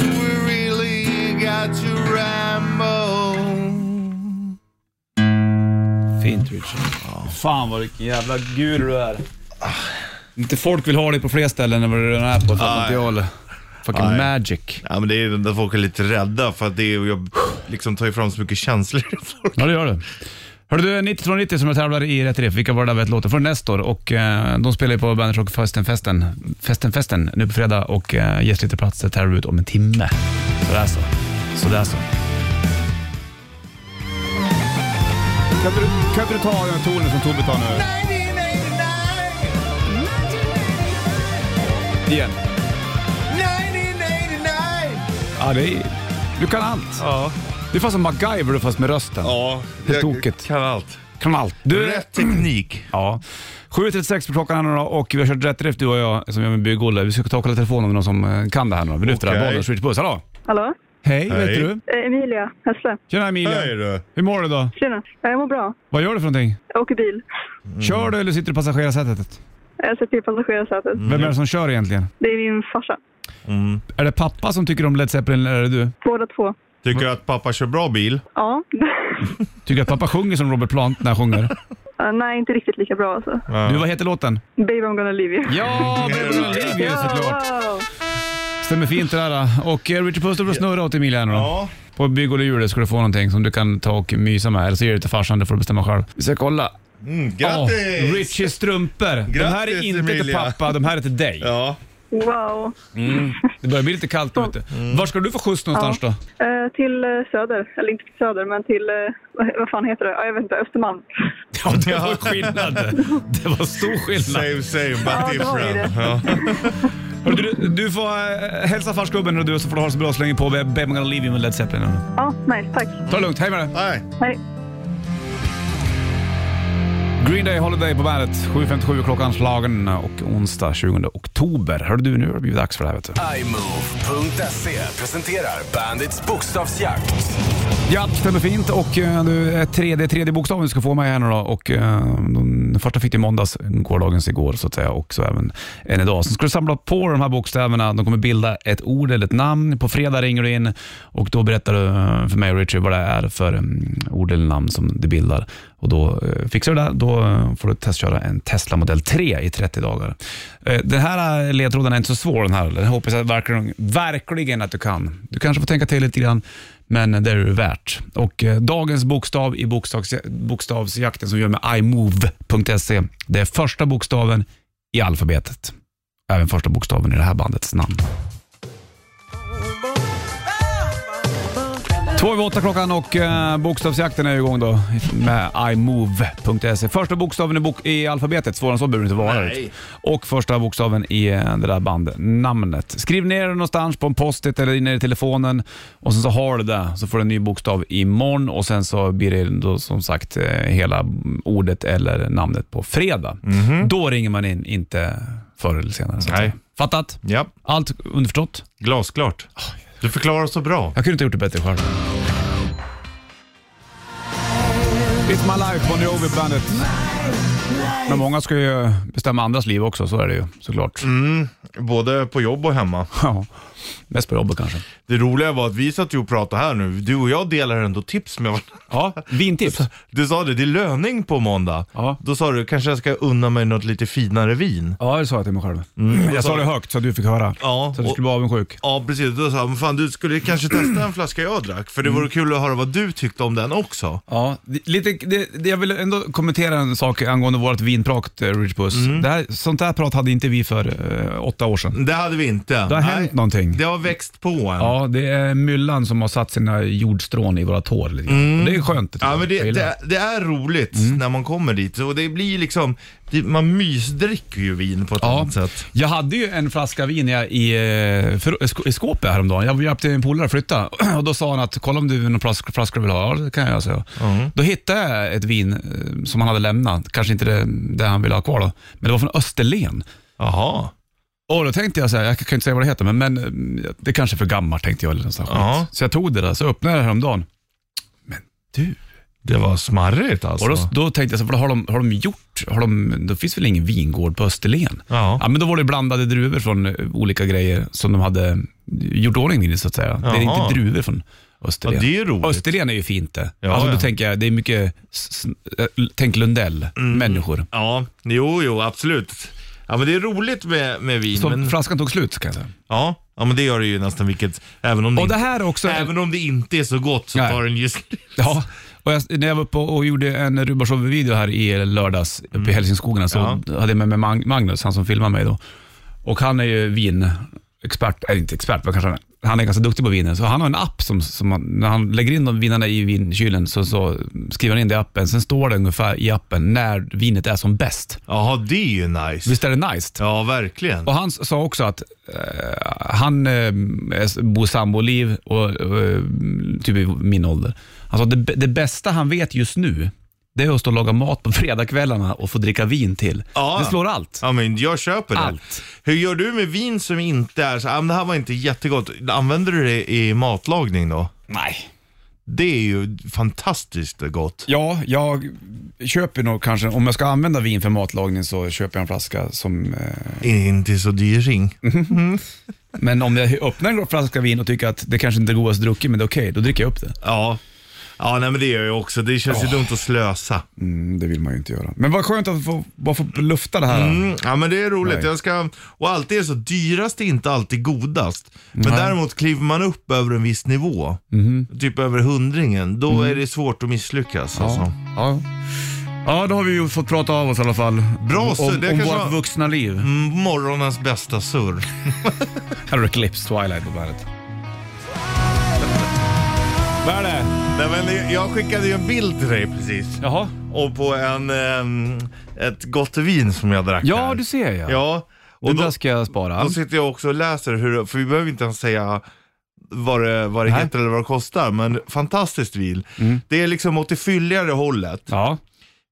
[SPEAKER 3] we really got to ramble.
[SPEAKER 2] Fint Richard. Fan vad vilken jävla guru du är. Ah. Inte folk vill ha dig på fler ställen än vad du redan är på för
[SPEAKER 3] Nej.
[SPEAKER 2] material. Fucking
[SPEAKER 3] Nej.
[SPEAKER 2] magic.
[SPEAKER 3] Ja, men det är där folk är lite rädda för att det är, jag liksom tar ju fram så mycket känslor i folk.
[SPEAKER 2] Ja, det gör du. Hörru du, 9290 som jag tävlar i Rätt Riff, vilka var det där vet låten för nästa år? Och eh, de spelar ju på Bandage Rock Festen Festen, Festen Festen, nu på fredag och eh, gästlyttarplatser tävlar ut om en timme. Sådär så. Sådär så.
[SPEAKER 6] Kan inte du, kan inte du ta den tonen som Tobbe tar nu?
[SPEAKER 2] Igen. Ja, det är, du kan allt.
[SPEAKER 3] Ja,
[SPEAKER 2] Du är fast som MacGyver du fast med rösten.
[SPEAKER 3] ja.
[SPEAKER 2] Det är
[SPEAKER 3] jag
[SPEAKER 2] tokigt.
[SPEAKER 3] kan allt.
[SPEAKER 2] Kan allt. Du,
[SPEAKER 3] Rätt teknik.
[SPEAKER 2] Ja. 7.36 på klockan här nu då och vi har kört rätt riff du och jag som gör med bygg-Olle. Vi ska ta och kolla telefonen om det är någon som eh, kan det här nu då. Vi lyfter
[SPEAKER 3] Okej.
[SPEAKER 2] här, bollen, switch puss. Hallå!
[SPEAKER 7] Hallå?
[SPEAKER 2] Hej, vad
[SPEAKER 3] Hej.
[SPEAKER 2] heter du?
[SPEAKER 7] Eh, Emilia Hässle.
[SPEAKER 2] Tjena Emilia!
[SPEAKER 3] Hej du.
[SPEAKER 2] Hur mår du då?
[SPEAKER 7] Tjena. Ja, Jag mår bra.
[SPEAKER 2] Vad gör du för någonting?
[SPEAKER 7] Jag åker bil.
[SPEAKER 3] Mm.
[SPEAKER 2] Kör du eller sitter du i passagerarsätet?
[SPEAKER 7] Jag sitter i passagerarsätet.
[SPEAKER 2] Vem
[SPEAKER 3] Mm.
[SPEAKER 2] är det som kör egentligen?
[SPEAKER 7] Det är min farsa.
[SPEAKER 2] Är det pappa som tycker om Led Zeppelin eller är det du?
[SPEAKER 7] Båda två.
[SPEAKER 3] Tycker du att pappa kör bra bil?
[SPEAKER 7] Ja.
[SPEAKER 2] Tycker att pappa sjunger som Robert Plant när han sjunger?
[SPEAKER 7] *laughs* Eh, Nej, inte riktigt lika bra alltså.
[SPEAKER 2] Du, vad heter låten?
[SPEAKER 7] Baby I'm gonna leave you.
[SPEAKER 2] Ja,
[SPEAKER 3] Mm.
[SPEAKER 2] Baby Olivia såklart!
[SPEAKER 7] Wow.
[SPEAKER 2] Stämmer fint det där. då. Och eh, Richard Puss, du får snurra åt Emilia här nu då.
[SPEAKER 3] Ja.
[SPEAKER 2] På bygg och hjulet ska du få någonting som du kan ta och mysa med. Eller så ger du till farsan, det får du bestämma själv. Vi ska kolla.
[SPEAKER 3] Mm,
[SPEAKER 2] Åh,
[SPEAKER 3] grattis!
[SPEAKER 2] Richies strumpor. de här är
[SPEAKER 3] Grattis,
[SPEAKER 2] inte till
[SPEAKER 3] Emilia.
[SPEAKER 2] pappa, de här är till dig.
[SPEAKER 3] Ja.
[SPEAKER 7] wow.
[SPEAKER 2] Det börjar bli lite kallt ute. Var ska du få skjuts någonstans då?
[SPEAKER 7] Eh, till eh, Söder. Eller inte till Söder, men till... eh, vad- vad fan heter det? Ja, jag vet inte. Östermalm.
[SPEAKER 2] Ja, det var skillnad. Det var stor skillnad.
[SPEAKER 3] Same same but
[SPEAKER 7] Ja, det var ju
[SPEAKER 3] different.
[SPEAKER 7] det.
[SPEAKER 2] Hörru, Du, du får äh, hälsa farsgubben och du så får du ha det så bra så länge på Baby I'm gonna leave you med Led Zeppelin.
[SPEAKER 7] Ja, nice. Tack.
[SPEAKER 2] Ta det lugnt, hej med dig.
[SPEAKER 3] Nej.
[SPEAKER 7] Hej.
[SPEAKER 2] Green Day Holiday på bandet. 7.57 klockan slagen och onsdag 20 oktober. Hör du, nu har det blivit dags för det här vet du.
[SPEAKER 5] iMove.se presenterar Bandits bokstavsjakt.
[SPEAKER 2] Ja, stämmer fint. Och eh, nu är tredje, tredje bokstaven du ska få med här nu då. Och eh, den första fick du i måndags, gårdagens igår så att säga. Och så även än idag. Sen ska du samla på de här bokstäverna. De kommer bilda ett ord eller ett namn. På fredag ringer du in och då berättar du eh, för mig och Richard vad det är för mm, ord eller namn som det bildar. Och då eh, fixar du det. Då eh, får du testköra en Tesla Model 3 i 30 dagar. Eh, Den här eh, ledtråden är inte så svår den här. eller? Jag hoppas jag verkligen, verkligen att du kan. Du kanske får tänka till lite grann, men det är det värt. Och eh, dagens bokstav i bokstavs, bokstavsjakten som vi gör med imove.se, det är första bokstaven i alfabetet. Även första bokstaven i det här bandets namn. Två över åtta klockan och eh, bokstavsjakten är igång då med imove.se. Första bokstaven i, bok- i alfabetet, svårare än så behöver det inte vara. Och första bokstaven i eh, det där bandnamnet. Skriv ner det någonstans på en post-it eller inne i telefonen och sen så har du det. Så får du en ny bokstav imorgon och sen så blir det då som sagt eh, hela ordet eller namnet på fredag. Då ringer man in, inte förr eller senare. Så att
[SPEAKER 3] Nej.
[SPEAKER 2] säga. Fattat?
[SPEAKER 3] Ja,
[SPEAKER 2] Allt underförstått?
[SPEAKER 3] glasklart. Du förklarar så bra.
[SPEAKER 2] Jag kunde inte gjort det bättre själv. It's my life, Bon Jovi bandet. Men många ska
[SPEAKER 3] Mm.
[SPEAKER 2] ju bestämma andras liv också, så är det ju såklart.
[SPEAKER 3] Både på jobb och hemma.
[SPEAKER 2] *laughs* Ja. Mest på jobbet kanske.
[SPEAKER 3] Det roliga var att vi satt ju och pratade här nu. Du och jag delar ändå tips med varandra.
[SPEAKER 2] Ja, vintips.
[SPEAKER 3] Du sa det, det är löning på måndag.
[SPEAKER 2] Ja.
[SPEAKER 3] Då sa du, kanske jag ska unna mig något lite finare vin.
[SPEAKER 2] Ja, det sa jag till mig själv. jag sa det högt så att du fick höra.
[SPEAKER 3] Mm. Alltså- Ja,
[SPEAKER 2] så att du
[SPEAKER 3] och-
[SPEAKER 2] skulle bli avundsjuk.
[SPEAKER 3] Ja precis, då sa jag, men fan du skulle kanske testa en flaska jag drack. För det
[SPEAKER 2] Mm.
[SPEAKER 3] vore kul att höra vad du tyckte om den också.
[SPEAKER 2] Ja, det- lite, det, det, jag vill ändå kommentera en sak angående vårt vinprat, eh, Rich Puss.
[SPEAKER 3] Mm.
[SPEAKER 2] Det här, sånt här prat hade inte vi för eh, åtta år sedan.
[SPEAKER 3] Det hade vi inte.
[SPEAKER 2] Det har hänt någonting.
[SPEAKER 3] Det har växt på en. Ja.
[SPEAKER 2] Ja, det är myllan som har satt sina jordstrån i våra tår. Lite. grann. Det är skönt. tycker jag.
[SPEAKER 3] Mm. men
[SPEAKER 2] Jag
[SPEAKER 3] det,
[SPEAKER 2] gillar
[SPEAKER 3] det, det är roligt
[SPEAKER 2] Mm.
[SPEAKER 3] när man kommer dit. Och det blir liksom, det, man mysdricker ju vin på ett
[SPEAKER 2] Ja,
[SPEAKER 3] annat sätt.
[SPEAKER 2] jag hade ju en flaska vin jag, i, eh, för, sk- i skåpet häromdagen. Jag hjälpte en polare att flytta *clears throat* och då sa han att kolla om du någon flaska, flaska du vill ha. Ja, det kan jag säga.
[SPEAKER 3] Mm.
[SPEAKER 2] Då hittade jag ett vin eh, som han hade lämnat. Kanske inte det, det han ville ha kvar då, men det var från Österlen.
[SPEAKER 3] Jaha.
[SPEAKER 2] Och då tänkte jag så här, jag kan inte säga vad det heter, men, men eh, det kanske är för gammalt tänkte jag. Eller någon sån här skit.
[SPEAKER 3] Ja.
[SPEAKER 2] Så jag tog det där, så öppnade jag det häromdagen.
[SPEAKER 3] Det var smarrigt alltså.
[SPEAKER 2] Och då, då tänkte jag, så, här, vad har de, har de gjort? Har de, då finns väl ingen vingård på Österlen?
[SPEAKER 3] Ja.
[SPEAKER 2] men då var det blandade druvor från eh, olika grejer som de hade eh, gjort ordning i, så att säga. Det är
[SPEAKER 3] Jaha.
[SPEAKER 2] inte druvor från Österlen.
[SPEAKER 3] Ja, det är ju roligt.
[SPEAKER 2] Österlen är ju fint det.
[SPEAKER 3] Ja,
[SPEAKER 2] alltså, då
[SPEAKER 3] ja.
[SPEAKER 2] tänker jag, det är mycket, s- s- äh, tänk
[SPEAKER 3] Mm.
[SPEAKER 2] Lundell-människor.
[SPEAKER 3] Ja, jo, jo, absolut. Ja, men det är roligt med, med vin.
[SPEAKER 2] Så
[SPEAKER 3] Men, Mm.
[SPEAKER 2] flaskan tog slut kan jag säga.
[SPEAKER 3] ja, ja, men det gör det ju nästan vilket, även om det,
[SPEAKER 2] Och det
[SPEAKER 3] inte,
[SPEAKER 2] här är också...
[SPEAKER 3] även om det inte är så gott så
[SPEAKER 2] Nej.
[SPEAKER 3] tar den just
[SPEAKER 2] *laughs* Ja, och jag, när jag var uppe och, och gjorde en Rubarsov-video här i lördags uppe i Helsingskogarna så hade jag med mig Mag- Magnus, han som filmade mig då. Och han är ju vinexpert, eller inte expert, men kanske han är. Han är ganska duktig på viner, så han har en app som, som han, när han lägger in de vinerna i vinkylen så, så skriver han in det i appen. Sen står det ungefär i appen när vinet är som bäst.
[SPEAKER 3] Jaha, det är ju nice.
[SPEAKER 2] Visst är det nice?
[SPEAKER 3] Ja, verkligen.
[SPEAKER 2] Och han sa också att eh, han eh, bor samboliv och eh, typ i min ålder. Han sa att det, det bästa han vet just nu, det är att stå och laga mat på *laughs* fredagskvällarna och få dricka vin till.
[SPEAKER 3] Ja.
[SPEAKER 2] Det slår allt.
[SPEAKER 3] Ja, men jag köper det.
[SPEAKER 2] Allt.
[SPEAKER 3] Hur gör du med vin som inte är så, ah, men det här var inte jättegott. Använder du det i matlagning då?
[SPEAKER 2] Nej.
[SPEAKER 3] Det är ju fantastiskt gott.
[SPEAKER 2] Ja, jag köper nog kanske, om jag ska använda vin för matlagning så köper jag en flaska som... Eh,
[SPEAKER 3] Inte så dyring.
[SPEAKER 2] men om jag öppnar en flaska vin och tycker att det kanske inte är godast druckit, men det är okej, då dricker jag upp det.
[SPEAKER 3] Ja. Ja, nej men det gör jag också. Det känns ju dumt att slösa.
[SPEAKER 2] Mm, det vill man ju inte göra. Men vad skönt att få, bara få lufta det här.
[SPEAKER 3] Mm, ja men det är roligt.
[SPEAKER 2] Nej.
[SPEAKER 3] Jag ska, och alltid är så, dyrast är inte alltid godast. Men däremot kliver man upp över en viss nivå, typ över hundringen, då är det svårt att misslyckas. Alltså.
[SPEAKER 2] Ja. ja, då har vi ju fått prata av oss i alla fall.
[SPEAKER 3] Bra,
[SPEAKER 2] om,
[SPEAKER 3] så det
[SPEAKER 2] om
[SPEAKER 3] kanske
[SPEAKER 2] vårt
[SPEAKER 3] var-
[SPEAKER 2] vuxna liv.
[SPEAKER 3] Mm, Morgonens bästa surr.
[SPEAKER 2] Här har du Clips Twilight på bandet.
[SPEAKER 3] Vad är det? Nej, men det- jag skickade ju en bild till dig precis.
[SPEAKER 2] Jaha.
[SPEAKER 3] Och på en, ehm, ett gott vin som jag drack
[SPEAKER 2] Ja,
[SPEAKER 3] här.
[SPEAKER 2] du ser ja.
[SPEAKER 3] Ja,
[SPEAKER 2] det
[SPEAKER 3] och då,
[SPEAKER 2] där ska jag spara.
[SPEAKER 3] då sitter jag också och läser hur, för vi behöver inte ens säga vad det, vad det
[SPEAKER 2] Nej.
[SPEAKER 3] heter eller vad det kostar, men fantastiskt vin. Det är liksom åt det fylligare hållet.
[SPEAKER 2] Ja,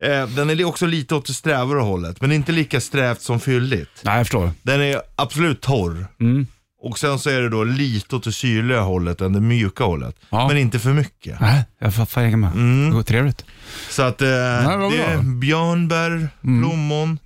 [SPEAKER 3] Eh, den är också lite åt det strävare hållet, men inte lika strävt som fylligt.
[SPEAKER 2] nej jag förstår.
[SPEAKER 3] Den är absolut torr.
[SPEAKER 2] Mm.
[SPEAKER 3] Och sen så är det då lite åt det syrliga hållet än det mjuka hållet.
[SPEAKER 2] Ja.
[SPEAKER 3] Men inte för mycket.
[SPEAKER 2] Nej, Äh, jag fattar jag är med.
[SPEAKER 3] Mm.
[SPEAKER 2] Det går trevligt.
[SPEAKER 3] Så
[SPEAKER 2] *laughs*
[SPEAKER 3] att eh,
[SPEAKER 2] här var
[SPEAKER 3] det
[SPEAKER 2] bra. Mm.
[SPEAKER 3] är björnbär, plommon,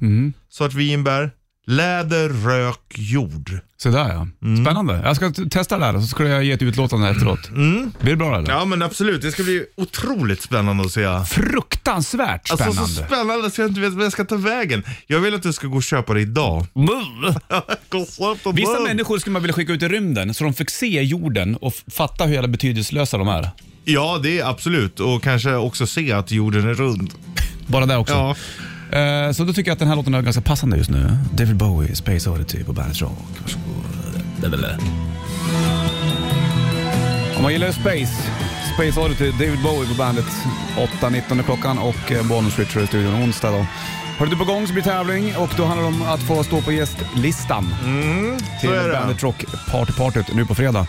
[SPEAKER 3] svartvinbär, läder, rök, jord.
[SPEAKER 2] Så där ja.
[SPEAKER 3] Mm.
[SPEAKER 2] Spännande. Jag ska t- testa det här och så ska jag ge ett utlåtande efteråt. Blir det bra eller?
[SPEAKER 3] Mm. Ja men absolut, det ska bli otroligt spännande att se.
[SPEAKER 2] Fruktansvärt
[SPEAKER 3] Alltså
[SPEAKER 2] spännande.
[SPEAKER 3] så spännande så jag inte vet vart jag ska ta vägen. Jag vill att du ska gå och köpa det idag. *laughs*
[SPEAKER 2] Vissa människor skulle man vilja skicka ut i rymden så de fick se jorden och f- fatta hur jävla betydelslösa de är.
[SPEAKER 3] Ja det är absolut och kanske också se att jorden är rund.
[SPEAKER 2] Bara det också.
[SPEAKER 3] Ja.
[SPEAKER 2] Eh, Så då tycker jag att den här låten är ganska passande just nu. David Bowie, Space Oddity på Bandet Rock. Varsågod. Om man gillar Space, Space Oddity, David Bowie på Bandet. 8.19 är klockan och eh, Bonus Richard i studion onsdag då. Har du på gång så blir tävling och då handlar det om att få stå på gästlistan till
[SPEAKER 3] Mm, är det.
[SPEAKER 2] Bandet Rock Partypartyt nu på fredag.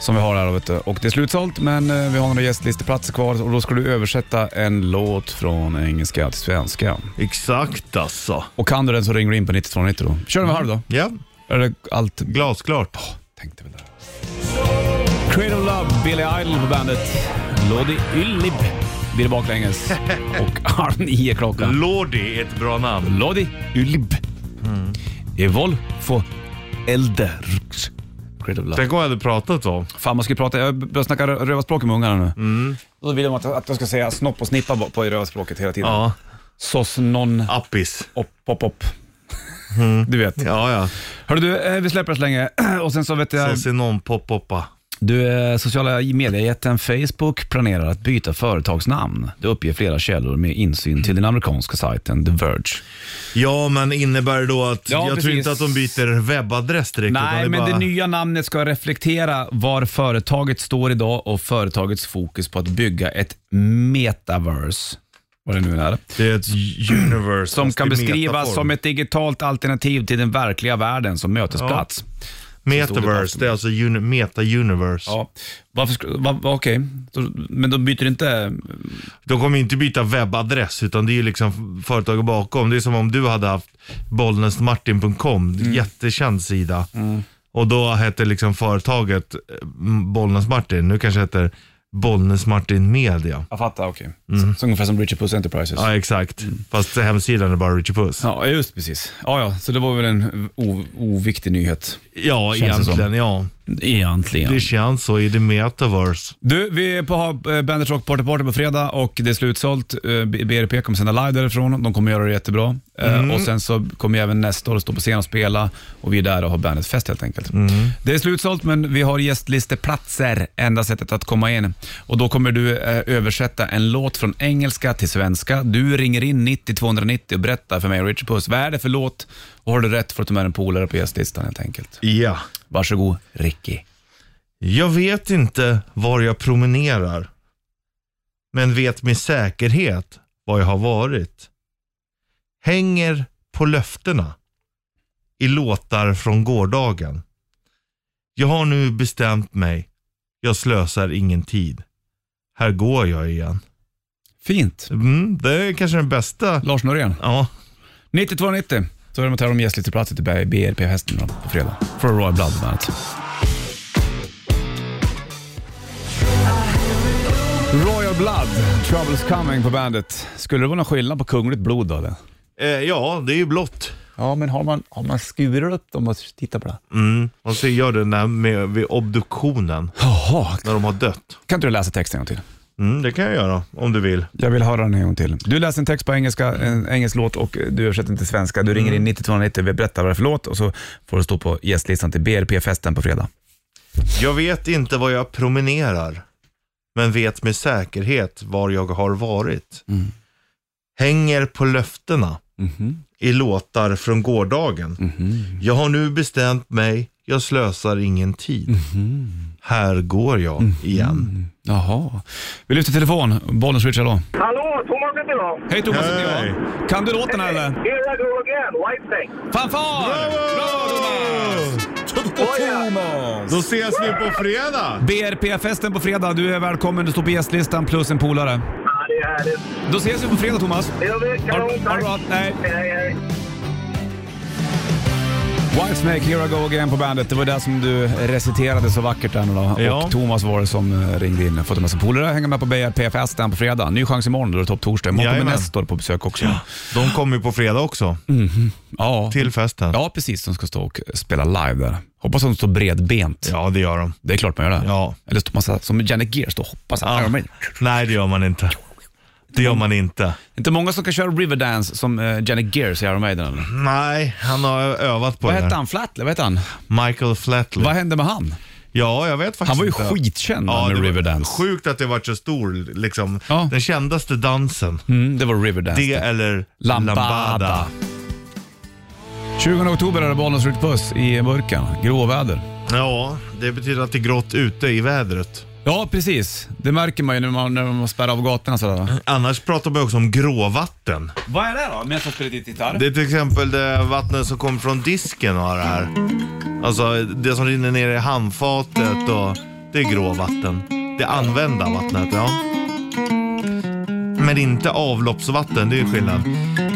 [SPEAKER 2] Som vi har här vet du. och det är slutsålt men eh, vi har några gästlisteplatser kvar och då ska du översätta en låt från engelska till svenska.
[SPEAKER 3] Exakt alltså.
[SPEAKER 2] Och kan du den så ringer du in på 9290 då. Kör den
[SPEAKER 3] Mm.
[SPEAKER 2] med halv då.
[SPEAKER 3] Ja,
[SPEAKER 2] Är det allt?
[SPEAKER 3] glasklart.
[SPEAKER 2] Tänkte väl det. Cradle of Love, Billy Idol på bandet. Lodi Yllib blir det
[SPEAKER 3] *laughs*
[SPEAKER 2] baklänges. Och halv nio klockan.
[SPEAKER 3] Lordi är ett bra namn. Mm.
[SPEAKER 2] Lodi Yllib. Evolfo Elderx. äckligt. Ulla.
[SPEAKER 3] Tänk om jag hade pratat så.
[SPEAKER 2] Fan, man ska ju prata, jag börjar snacka rö- rövarspråk med ungarna nu.
[SPEAKER 3] Mm.
[SPEAKER 2] Då vill de att, att jag ska säga snopp och snippa på, på i rövarspråket hela tiden.
[SPEAKER 3] Ja,
[SPEAKER 2] Sås, non,
[SPEAKER 3] appis.
[SPEAKER 2] opp, opp, opp.
[SPEAKER 3] Mm.
[SPEAKER 2] Du vet.
[SPEAKER 3] Ja, ja.
[SPEAKER 2] Hörru du, eh, vi släpper det så länge. *clears throat* Och sen så vet jag,
[SPEAKER 3] Så ser någon pop-poppa.
[SPEAKER 2] du eh, sociala mediejätten Facebook planerar att byta företagsnamn. Det uppger flera källor med insyn till den amerikanska sajten The Verge.
[SPEAKER 3] Ja, men innebär det då att
[SPEAKER 2] Ja,
[SPEAKER 3] jag tror
[SPEAKER 2] precis.
[SPEAKER 3] inte att de byter webbadress direkt. utan
[SPEAKER 2] Nej, men
[SPEAKER 3] bara,
[SPEAKER 2] det nya namnet ska reflektera var företaget står idag och företagets fokus på att bygga ett metaverse. Vad det nu är.
[SPEAKER 3] det är ett universe.
[SPEAKER 2] Som
[SPEAKER 3] fast
[SPEAKER 2] kan
[SPEAKER 3] i
[SPEAKER 2] beskrivas
[SPEAKER 3] metaform.
[SPEAKER 2] som ett digitalt alternativ till den verkliga världen som mötesplats.
[SPEAKER 3] Metaverse, det är alltså uni- meta-universe.
[SPEAKER 2] Ja. Varför sku- va, va, Okej, Så- men de byter inte...
[SPEAKER 3] De kommer ju inte byta webbadress, utan det är ju liksom företaget bakom. Det är som om du hade haft bollnäsmartin.com,
[SPEAKER 2] Mm.
[SPEAKER 3] jättekänd sida. Och då hette liksom företaget eh, Bollnäs-Martin. Nu kanske heter Bollnäs-Martin Media.
[SPEAKER 2] Jag fattar, okej. Mm. Ungefär som Richard Puss Enterprises.
[SPEAKER 3] Ja, exakt. Fast hemsidan är bara Richie Puss.
[SPEAKER 2] Mm. Ja, just precis. Ja, ja, så det var väl en o- oviktig nyhet.
[SPEAKER 3] Ja,
[SPEAKER 2] Känns det
[SPEAKER 3] egentligen. Ja.
[SPEAKER 2] Egentligen.
[SPEAKER 3] Det känns så i the metaverse.
[SPEAKER 2] Du, vi är på eh, Bandit Rock Party Party på fredag och det är slutsålt. Eh, B- BRP kommer sända live därifrån. De kommer göra det jättebra. Eh, Och Sen så kommer jag även nästa år stå på scen och spela och vi är där och har Bandit-fest helt enkelt. Det är slutsålt men vi har gästlisteplatser, enda sättet att komma in. Och Då kommer du eh, översätta en låt från engelska till svenska. Du ringer in 90 290 och berättar för mig och Richard Puss, vad är det för låt? Och har du rätt får du ta med en polare på gästlistan helt enkelt.
[SPEAKER 3] Ja.
[SPEAKER 2] Varsågod, Ricky.
[SPEAKER 3] Jag vet inte var jag promenerar. Men vet med säkerhet var jag har varit. Hänger på löftena. I låtar från gårdagen. Jag har nu bestämt mig. Jag slösar ingen tid. Här går jag igen.
[SPEAKER 2] Fint.
[SPEAKER 3] Mm, det är kanske den bästa.
[SPEAKER 2] Lars Norén.
[SPEAKER 3] Ja.
[SPEAKER 2] 9290. Så är det med tävlan om gästlisteplatser till BRP-hästen då, på fredag. För Royal Blood bland annat. Royal Blood, Troubles Coming på bandet. Skulle det vara någon skillnad på kungligt blod då eller?
[SPEAKER 3] Eh, ja, det är ju blått.
[SPEAKER 2] Ja, men har man, har man skurit upp dem och tittat på det?
[SPEAKER 3] Mm. Och så gör den där med, vid obduktionen.
[SPEAKER 2] Jaha.
[SPEAKER 3] När de har dött.
[SPEAKER 2] Kan inte du läsa texten en gång till?
[SPEAKER 3] Mm, det kan jag göra om du vill.
[SPEAKER 2] Jag vill höra den en gång till. Du läser en text på engelska, en engelsk låt och du översätter den till svenska. Du ringer in 9290 och berättar vad det är för låt och så får du stå på gästlistan till BRP-festen på fredag.
[SPEAKER 3] Jag vet inte var jag promenerar, men vet med säkerhet var jag har varit. Hänger på löftena i låtar från gårdagen. Jag har nu bestämt mig, jag slösar ingen tid. Mhm. Här går jag igen.
[SPEAKER 2] Jaha. Vi lyfter telefon. Bollnäs Richard då.
[SPEAKER 8] Hallå, Thomas heter jag.
[SPEAKER 2] Hej Thomas
[SPEAKER 3] Hej.
[SPEAKER 2] heter jag. Kan du låten här eller?
[SPEAKER 8] Here I go again, White Snake.
[SPEAKER 2] Fanfar!
[SPEAKER 8] Oh,
[SPEAKER 2] Thomas!
[SPEAKER 3] Då ses vi på fredag!
[SPEAKER 2] BRP-festen på fredag. Du är välkommen. Du står på gästlistan plus en polare.
[SPEAKER 8] Ja, det är härligt.
[SPEAKER 2] Då ses vi på fredag Thomas.
[SPEAKER 8] Det gör vi.
[SPEAKER 2] Ha
[SPEAKER 8] Kanon,
[SPEAKER 2] ha det
[SPEAKER 8] tack.
[SPEAKER 2] bra. Nej.
[SPEAKER 8] Hej, hej.
[SPEAKER 2] Whitesnake, Here I Go Again på bandet. Det var det som du reciterade så vackert där nu då.
[SPEAKER 3] Ja.
[SPEAKER 2] Och Thomas var det som eh, ringde in. Fått en massa polare. Hänga med på BRP-festen på fredag. Ny chans imorgon. Då är det topptorsdag. Imorgon kommer
[SPEAKER 3] Jajamän.
[SPEAKER 2] Nestor på besök också.
[SPEAKER 3] De kommer ju på fredag också,
[SPEAKER 2] Ja.
[SPEAKER 3] till festen.
[SPEAKER 2] ja, precis. De ska stå och spela live där. Hoppas de står bredbent.
[SPEAKER 3] Ja, det gör de.
[SPEAKER 2] Det är klart man gör det.
[SPEAKER 3] Ja. Ah.
[SPEAKER 2] Eller står man så här, som Janet Gear, står och hoppar så här.
[SPEAKER 3] Ja. Nej, det gör man inte. Det gör man inte.
[SPEAKER 2] Inte många som kan köra Riverdance som eh, Janet Gears i Iron Maiden. Eller?
[SPEAKER 3] Mm. Nej, han har övat på
[SPEAKER 2] Vad
[SPEAKER 3] det
[SPEAKER 2] hette
[SPEAKER 3] där.
[SPEAKER 2] han? Flatley? Vad hette han?
[SPEAKER 3] Michael Flatley.
[SPEAKER 2] Vad hände med han?
[SPEAKER 3] Ja, jag vet faktiskt
[SPEAKER 2] Han var ju
[SPEAKER 3] inte.
[SPEAKER 2] skitkänd
[SPEAKER 3] Ja,
[SPEAKER 2] med
[SPEAKER 3] det var
[SPEAKER 2] Riverdance.
[SPEAKER 3] Sjukt att det varit så stor, liksom.
[SPEAKER 2] Ja.
[SPEAKER 3] Den kändaste dansen.
[SPEAKER 2] Mm, det var Riverdance.
[SPEAKER 3] Det eller
[SPEAKER 2] Lambada.
[SPEAKER 3] Lambada.
[SPEAKER 2] 20 oktober är det Bollnäs Rött Puss i burken. Gråväder.
[SPEAKER 3] Ja, det betyder att det är grått ute i vädret.
[SPEAKER 2] Ja, precis. Det märker man ju när man, när man spärrar av gatorna sådär.
[SPEAKER 3] Annars pratar man också om gråvatten.
[SPEAKER 2] Vad är det då? Medan jag spelar dit gitarr?
[SPEAKER 3] Det är till exempel det vattnet som kommer från disken och det här. Alltså det som rinner ner i handfatet och det är gråvatten. Det använda vattnet, ja. Men inte avloppsvatten, det är skillnad.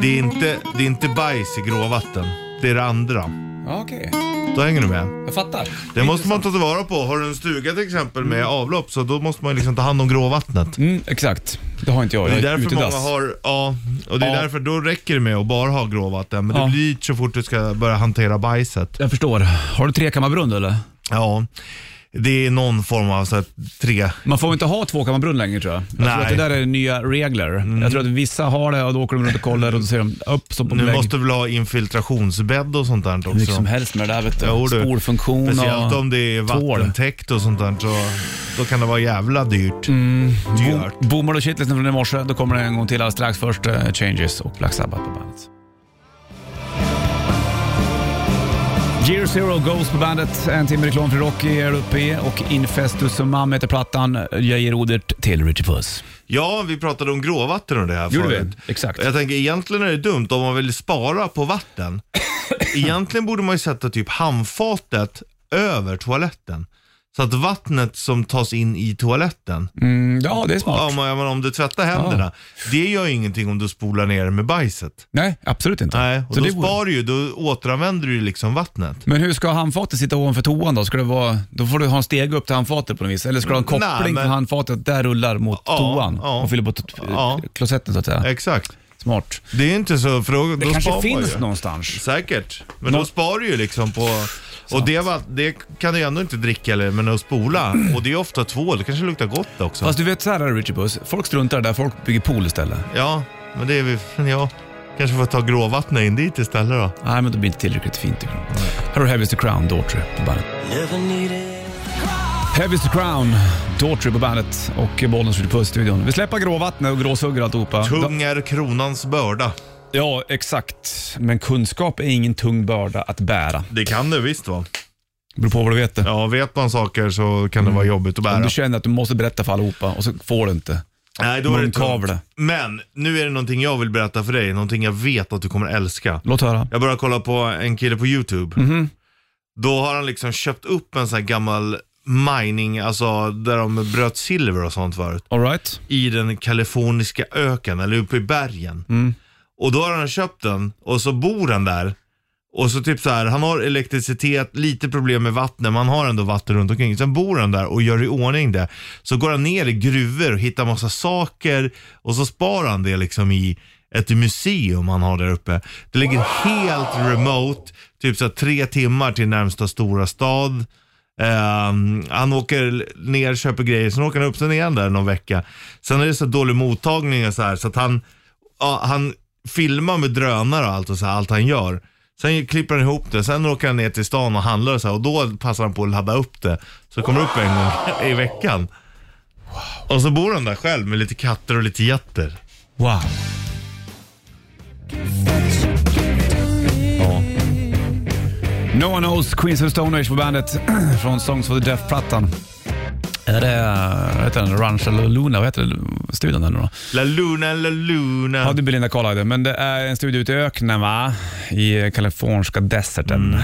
[SPEAKER 3] Det är inte, det är inte bajs i gråvatten. Det är det andra.
[SPEAKER 2] Ja, okej.
[SPEAKER 3] Då hänger du med.
[SPEAKER 2] Jag fattar.
[SPEAKER 3] Det måste man ta tillvara på. Har du en stuga till exempel med avlopp så då måste man ju liksom ta hand om gråvattnet.
[SPEAKER 2] Mm, exakt. Det har inte jag.
[SPEAKER 3] Det
[SPEAKER 2] Jag
[SPEAKER 3] är
[SPEAKER 2] är
[SPEAKER 3] därför många
[SPEAKER 2] utedass.
[SPEAKER 3] har, ja, och det är
[SPEAKER 2] Ja.
[SPEAKER 3] därför då räcker det med att bara ha gråvatten. Men
[SPEAKER 2] Ja.
[SPEAKER 3] det blir dyrt så fort du ska börja hantera bajset.
[SPEAKER 2] Jag förstår. Har du trekammarbrunn eller?
[SPEAKER 3] Ja, det är någon form av så här, tre...
[SPEAKER 2] Man får inte ha tvåkammarbrunn längre tror jag. Jag tror
[SPEAKER 3] Nej. Mm.
[SPEAKER 2] att det där är nya regler. Jag tror att vissa har det och då åker de runt och kollar och då ser de upp som på
[SPEAKER 3] Nu
[SPEAKER 2] belägg.
[SPEAKER 3] måste du väl ha infiltrationsbädd och sånt där också?
[SPEAKER 2] Hur mycket som helst med det där vet du.
[SPEAKER 3] Jo, du.
[SPEAKER 2] Spolfunktion
[SPEAKER 3] Speciellt
[SPEAKER 2] och
[SPEAKER 3] om det är
[SPEAKER 2] tvål.
[SPEAKER 3] vattentäckt och sånt där, så då kan det vara jävla dyrt.
[SPEAKER 2] Mm.
[SPEAKER 3] Dyrt.
[SPEAKER 2] Bo- Bommar och shitlisten från i morse. Då kommer det en gång till alldeles strax. Först eh, Changes och Black Sabbath på bandet. Year Zero Ghost på bandet. En timme reklam för rock i Europe och Infestus och Mam heter plattan. Jag ger ordet till Richie Puss.
[SPEAKER 3] Ja, vi pratade om gråvatten och det här
[SPEAKER 2] Gjorde vi?
[SPEAKER 3] förut.
[SPEAKER 2] Exakt.
[SPEAKER 3] Jag tänker egentligen är det dumt om man vill spara på vatten.
[SPEAKER 2] *coughs*
[SPEAKER 3] egentligen borde man ju sätta typ handfatet över toaletten. Så att vattnet som tas in i toaletten,
[SPEAKER 2] Mm, ja, det är smart.
[SPEAKER 3] om, om, om du tvättar händerna, det gör ju ingenting om du spolar ner det med bajset.
[SPEAKER 2] Nej, absolut inte.
[SPEAKER 3] Nej, och
[SPEAKER 2] Så
[SPEAKER 3] då
[SPEAKER 2] det borde-
[SPEAKER 3] spar du ju, då återanvänder du ju liksom vattnet.
[SPEAKER 2] Men hur ska handfatet sitta ovanför toan då? Ska det vara, då får du ha en steg upp till handfatet på något vis. Eller ska du ha en koppling
[SPEAKER 3] Nej, men-
[SPEAKER 2] från handfatet där rullar mot
[SPEAKER 3] Ja,
[SPEAKER 2] toan
[SPEAKER 3] ja.
[SPEAKER 2] och fyller på t-
[SPEAKER 3] Ja.
[SPEAKER 2] klosetten så att säga.
[SPEAKER 3] Exakt.
[SPEAKER 2] Smart.
[SPEAKER 3] Det är ju inte så, för då,
[SPEAKER 2] Det
[SPEAKER 3] då spar
[SPEAKER 2] kanske
[SPEAKER 3] man
[SPEAKER 2] finns
[SPEAKER 3] ju.
[SPEAKER 2] någonstans.
[SPEAKER 3] Säkert, men då sparar du ju liksom på... Och det, var, det kan du ju ändå inte dricka, eller, men att spola, och det är ofta tvål, det kanske luktar gott också.
[SPEAKER 2] Fast du vet så här Richard Puss, folk struntar där, folk bygger pool istället.
[SPEAKER 3] Ja, men det är vi... *laughs* Ja, kanske får ta gråvattnet in dit istället då.
[SPEAKER 2] Nej, men det blir inte tillräckligt fint tycker de. Här har du Heavy's the Crown, Daughtry på bandet. Heavy's the Crown, Daughtry på bandet och Bollnäs Richard Puss-studion. Vi släpper gråvattnet och gråsuggor och alltihopa.
[SPEAKER 3] Tung är kronans börda.
[SPEAKER 2] Ja, exakt. Men kunskap är ingen tung börda att bära.
[SPEAKER 3] Det kan det visst vara.
[SPEAKER 2] beror på vad du vet det.
[SPEAKER 3] Ja, vet man saker så kan det vara jobbigt att
[SPEAKER 2] Om
[SPEAKER 3] bära.
[SPEAKER 2] du känner att du måste berätta för allihopa och så får du inte.
[SPEAKER 3] Nej, då är det
[SPEAKER 2] Munkavle.
[SPEAKER 3] tungt. Men nu är det någonting jag vill berätta för dig, någonting jag vet att du kommer älska.
[SPEAKER 2] Låt höra.
[SPEAKER 3] Jag började kolla på en kille på YouTube. Då har han liksom köpt upp en sån här gammal mining, alltså där de bröt silver och sånt förut.
[SPEAKER 2] All right.
[SPEAKER 3] I den kaliforniska öken, eller uppe i bergen. Och då har han köpt den och så bor han där. Och så typ så här, han har elektricitet, lite problem med vattnet, men han har ändå vatten runt omkring. Sen bor han där och gör i ordning det. Så går han ner i gruvor och hittar massa saker och så sparar han det liksom i ett museum han har där uppe. Det ligger helt remote, typ så här tre timmar till närmsta stora stad. Ehm, han åker ner, köper grejer, sen åker han upp, sen är han där någon vecka. Sen är det så dålig mottagning och så här, så att han, ja, han filmar med drönare och allt och så här, allt han gör. Sen klipper han ihop det, sen åker han ner till stan och handlar och så här, och då passar han på att ladda upp det. Så det kommer upp en gång *laughs* i veckan. Och så bor han där själv med lite katter och lite jätter.
[SPEAKER 2] Wow. Ja. No One Knows, Queens of the Stone Age på bandet *clears throat* från Songs for the Deaf-plattan. Är det, vad heter den, Ranch eller Luna, vad heter det, studion där nu då?
[SPEAKER 3] La Luna, La Luna.
[SPEAKER 2] Ja, det är Belinda Carlisle, men det är en studio ute i öknen va? I kaliforniska deserten. Mm.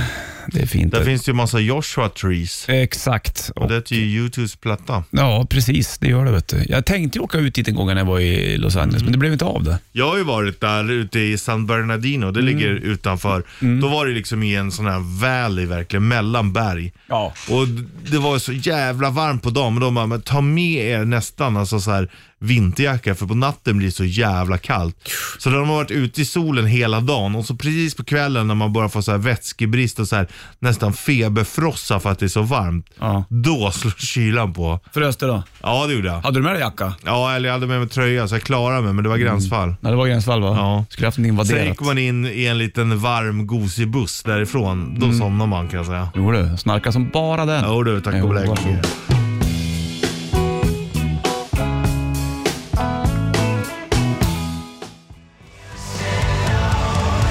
[SPEAKER 2] Det är fint.
[SPEAKER 3] Där finns det ju massa Joshua Trees.
[SPEAKER 2] Exakt.
[SPEAKER 3] Och det är ju YouTubes platta.
[SPEAKER 2] Ja, precis. Det gör det. Vet du. Jag tänkte ju åka ut dit en gång när jag var i Los Angeles, men det blev inte av det.
[SPEAKER 3] Jag har ju varit där ute i San Bernardino,
[SPEAKER 2] Mm.
[SPEAKER 3] det ligger utanför. Då var det liksom i en sån här valley verkligen, mellan berg.
[SPEAKER 2] Ja.
[SPEAKER 3] Och d- det var så jävla varmt på dagen, men de bara, men ta med er nästan alltså så här vinterjacka, för på natten blir det så jävla kallt. Så de har varit ute i solen hela dagen och så precis på kvällen när man börjar få så här vätskebrist och så här, nästan feberfrossa för att det är så varmt,
[SPEAKER 2] Ja.
[SPEAKER 3] då slår kylan på.
[SPEAKER 2] Förresten då?
[SPEAKER 3] Ja, det gjorde jag.
[SPEAKER 2] Hade du med dig jacka?
[SPEAKER 3] Ja, eller jag hade med mig tröja så jag klarade mig, men det var
[SPEAKER 2] Mm.
[SPEAKER 3] gränsfall.
[SPEAKER 2] Nej, det var gränsfall va?
[SPEAKER 3] Ja.
[SPEAKER 2] Skulle haft en
[SPEAKER 3] Sen
[SPEAKER 2] invaderat.
[SPEAKER 3] gick man in i en liten varm gosig buss därifrån. Då
[SPEAKER 2] Mm.
[SPEAKER 3] somnar man kan jag säga.
[SPEAKER 2] Jo du, snarka som bara den.
[SPEAKER 3] Jo du, tack och belägg.
[SPEAKER 2] varsågod.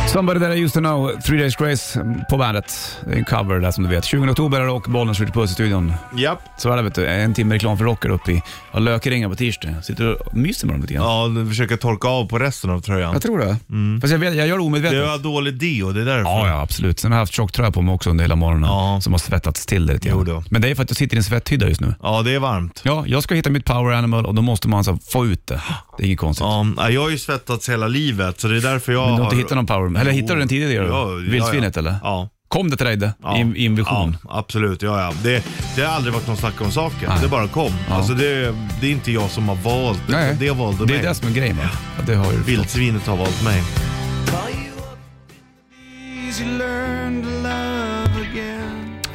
[SPEAKER 2] Somebody that I used to know, Three Days Grace på bandet. Det är en cover där som du vet. 20 oktober är det och Bollnäs skjuter puss i studion.
[SPEAKER 3] Japp.
[SPEAKER 2] Så är det vet du, en timme reklam för rocker uppe i ja, Lökeringa på tirsdag. Sitter du och myser med dem lite grann?
[SPEAKER 3] Ja, nu försöker jag torka av på resten av tröjan.
[SPEAKER 2] Jag tror det. Fast jag, vet, jag gör det
[SPEAKER 3] Det
[SPEAKER 2] omedvetet.
[SPEAKER 3] var dålig deo, det är därför.
[SPEAKER 2] Ja, ja, absolut. Sen har jag haft tjocktröja på mig också under hela morgonen
[SPEAKER 3] Ja.
[SPEAKER 2] som har svettats till det lite grann.
[SPEAKER 3] Jo då.
[SPEAKER 2] Men det är för att jag sitter i en svetthydda just nu.
[SPEAKER 3] Ja, det är varmt.
[SPEAKER 2] Ja, jag ska hitta mitt power animal och då måste man alltså få ut det. Det är inget konstigt.
[SPEAKER 3] Ja, nej, jag har ju svettats hela livet, så det är därför jag
[SPEAKER 2] Men du har
[SPEAKER 3] har...
[SPEAKER 2] inte hittat någon power animal? Eller hittade du den tidigare?
[SPEAKER 3] Ja,
[SPEAKER 2] då?
[SPEAKER 3] ja, ja.
[SPEAKER 2] Vildsvinet eller?
[SPEAKER 3] Ja.
[SPEAKER 2] Kom det till dig det?
[SPEAKER 3] Ja.
[SPEAKER 2] I, en- I en vision?
[SPEAKER 3] Ja, absolut. Ja, ja. Det, det har aldrig varit någon snack om saken.
[SPEAKER 2] Nej.
[SPEAKER 3] Det bara kom.
[SPEAKER 2] Ja.
[SPEAKER 3] Alltså, det, det är inte jag som har valt det. utan Det valde
[SPEAKER 2] det är
[SPEAKER 3] mig.
[SPEAKER 2] det som är grejen va? Att Det har ju
[SPEAKER 3] Vildsvinet har valt mig.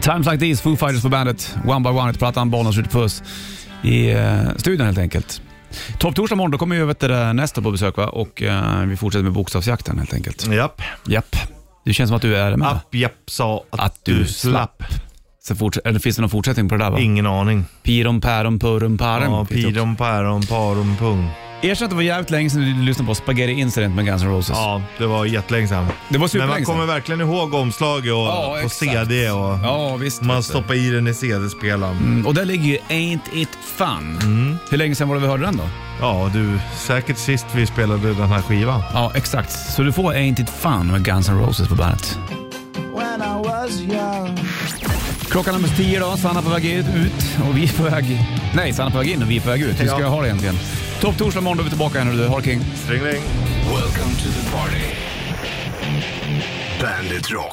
[SPEAKER 2] Times Like These, Foo Fighters på bandet. One by one, plattan Bollnäs skjuter puss i eh, studion helt enkelt. Topptorsdag morgon, då kommer ju vet du, det, eh, nästa på besök va? och eh, vi fortsätter med bokstavsjakten helt enkelt.
[SPEAKER 3] Japp.
[SPEAKER 2] Japp. Det känns som att du är med.
[SPEAKER 3] App, japp sa att,
[SPEAKER 2] Att du
[SPEAKER 3] du slapp.
[SPEAKER 2] Sen forts- eller finns det någon fortsättning på det där? Va?
[SPEAKER 3] Ingen aning.
[SPEAKER 2] Pirom, pärom, purum, parum.
[SPEAKER 3] Ja,
[SPEAKER 2] Finns det också.
[SPEAKER 3] pirom, päron, parom, pung.
[SPEAKER 2] Erkänn att det var jävligt länge sedan du lyssnade på Spaghetti Incident med Guns N' Roses.
[SPEAKER 3] Ja, det var jättelänge sedan.
[SPEAKER 2] Det var
[SPEAKER 3] Men man
[SPEAKER 2] superlänge sedan.
[SPEAKER 3] kommer verkligen ihåg omslaget och,
[SPEAKER 2] Ja,
[SPEAKER 3] och
[SPEAKER 2] exakt.
[SPEAKER 3] CD och
[SPEAKER 2] Ja, Mm. visst. vet
[SPEAKER 3] man
[SPEAKER 2] du.
[SPEAKER 3] stoppar i den i CD-spelaren.
[SPEAKER 2] Och där ligger ju Ain't It Fun.
[SPEAKER 3] Mm.
[SPEAKER 2] Hur länge sedan var det vi hörde den då?
[SPEAKER 3] Ja, du. Säkert sist vi spelade den här skivan.
[SPEAKER 2] Ja, exakt. Så du får Ain't It Fun med Guns N' Roses på bandet. Klockan är nummer tio idag, Sanna på väg ut och vi är på väg... Nej, Sanna på väg in och vi är på väg ut. Hur ska
[SPEAKER 3] Ja.
[SPEAKER 2] jag ha det egentligen? Topp torsdag morgon, då är vi tillbaka här nu du. Ha det king.
[SPEAKER 3] Strängling.
[SPEAKER 5] Welcome to the party. Bandit Rock.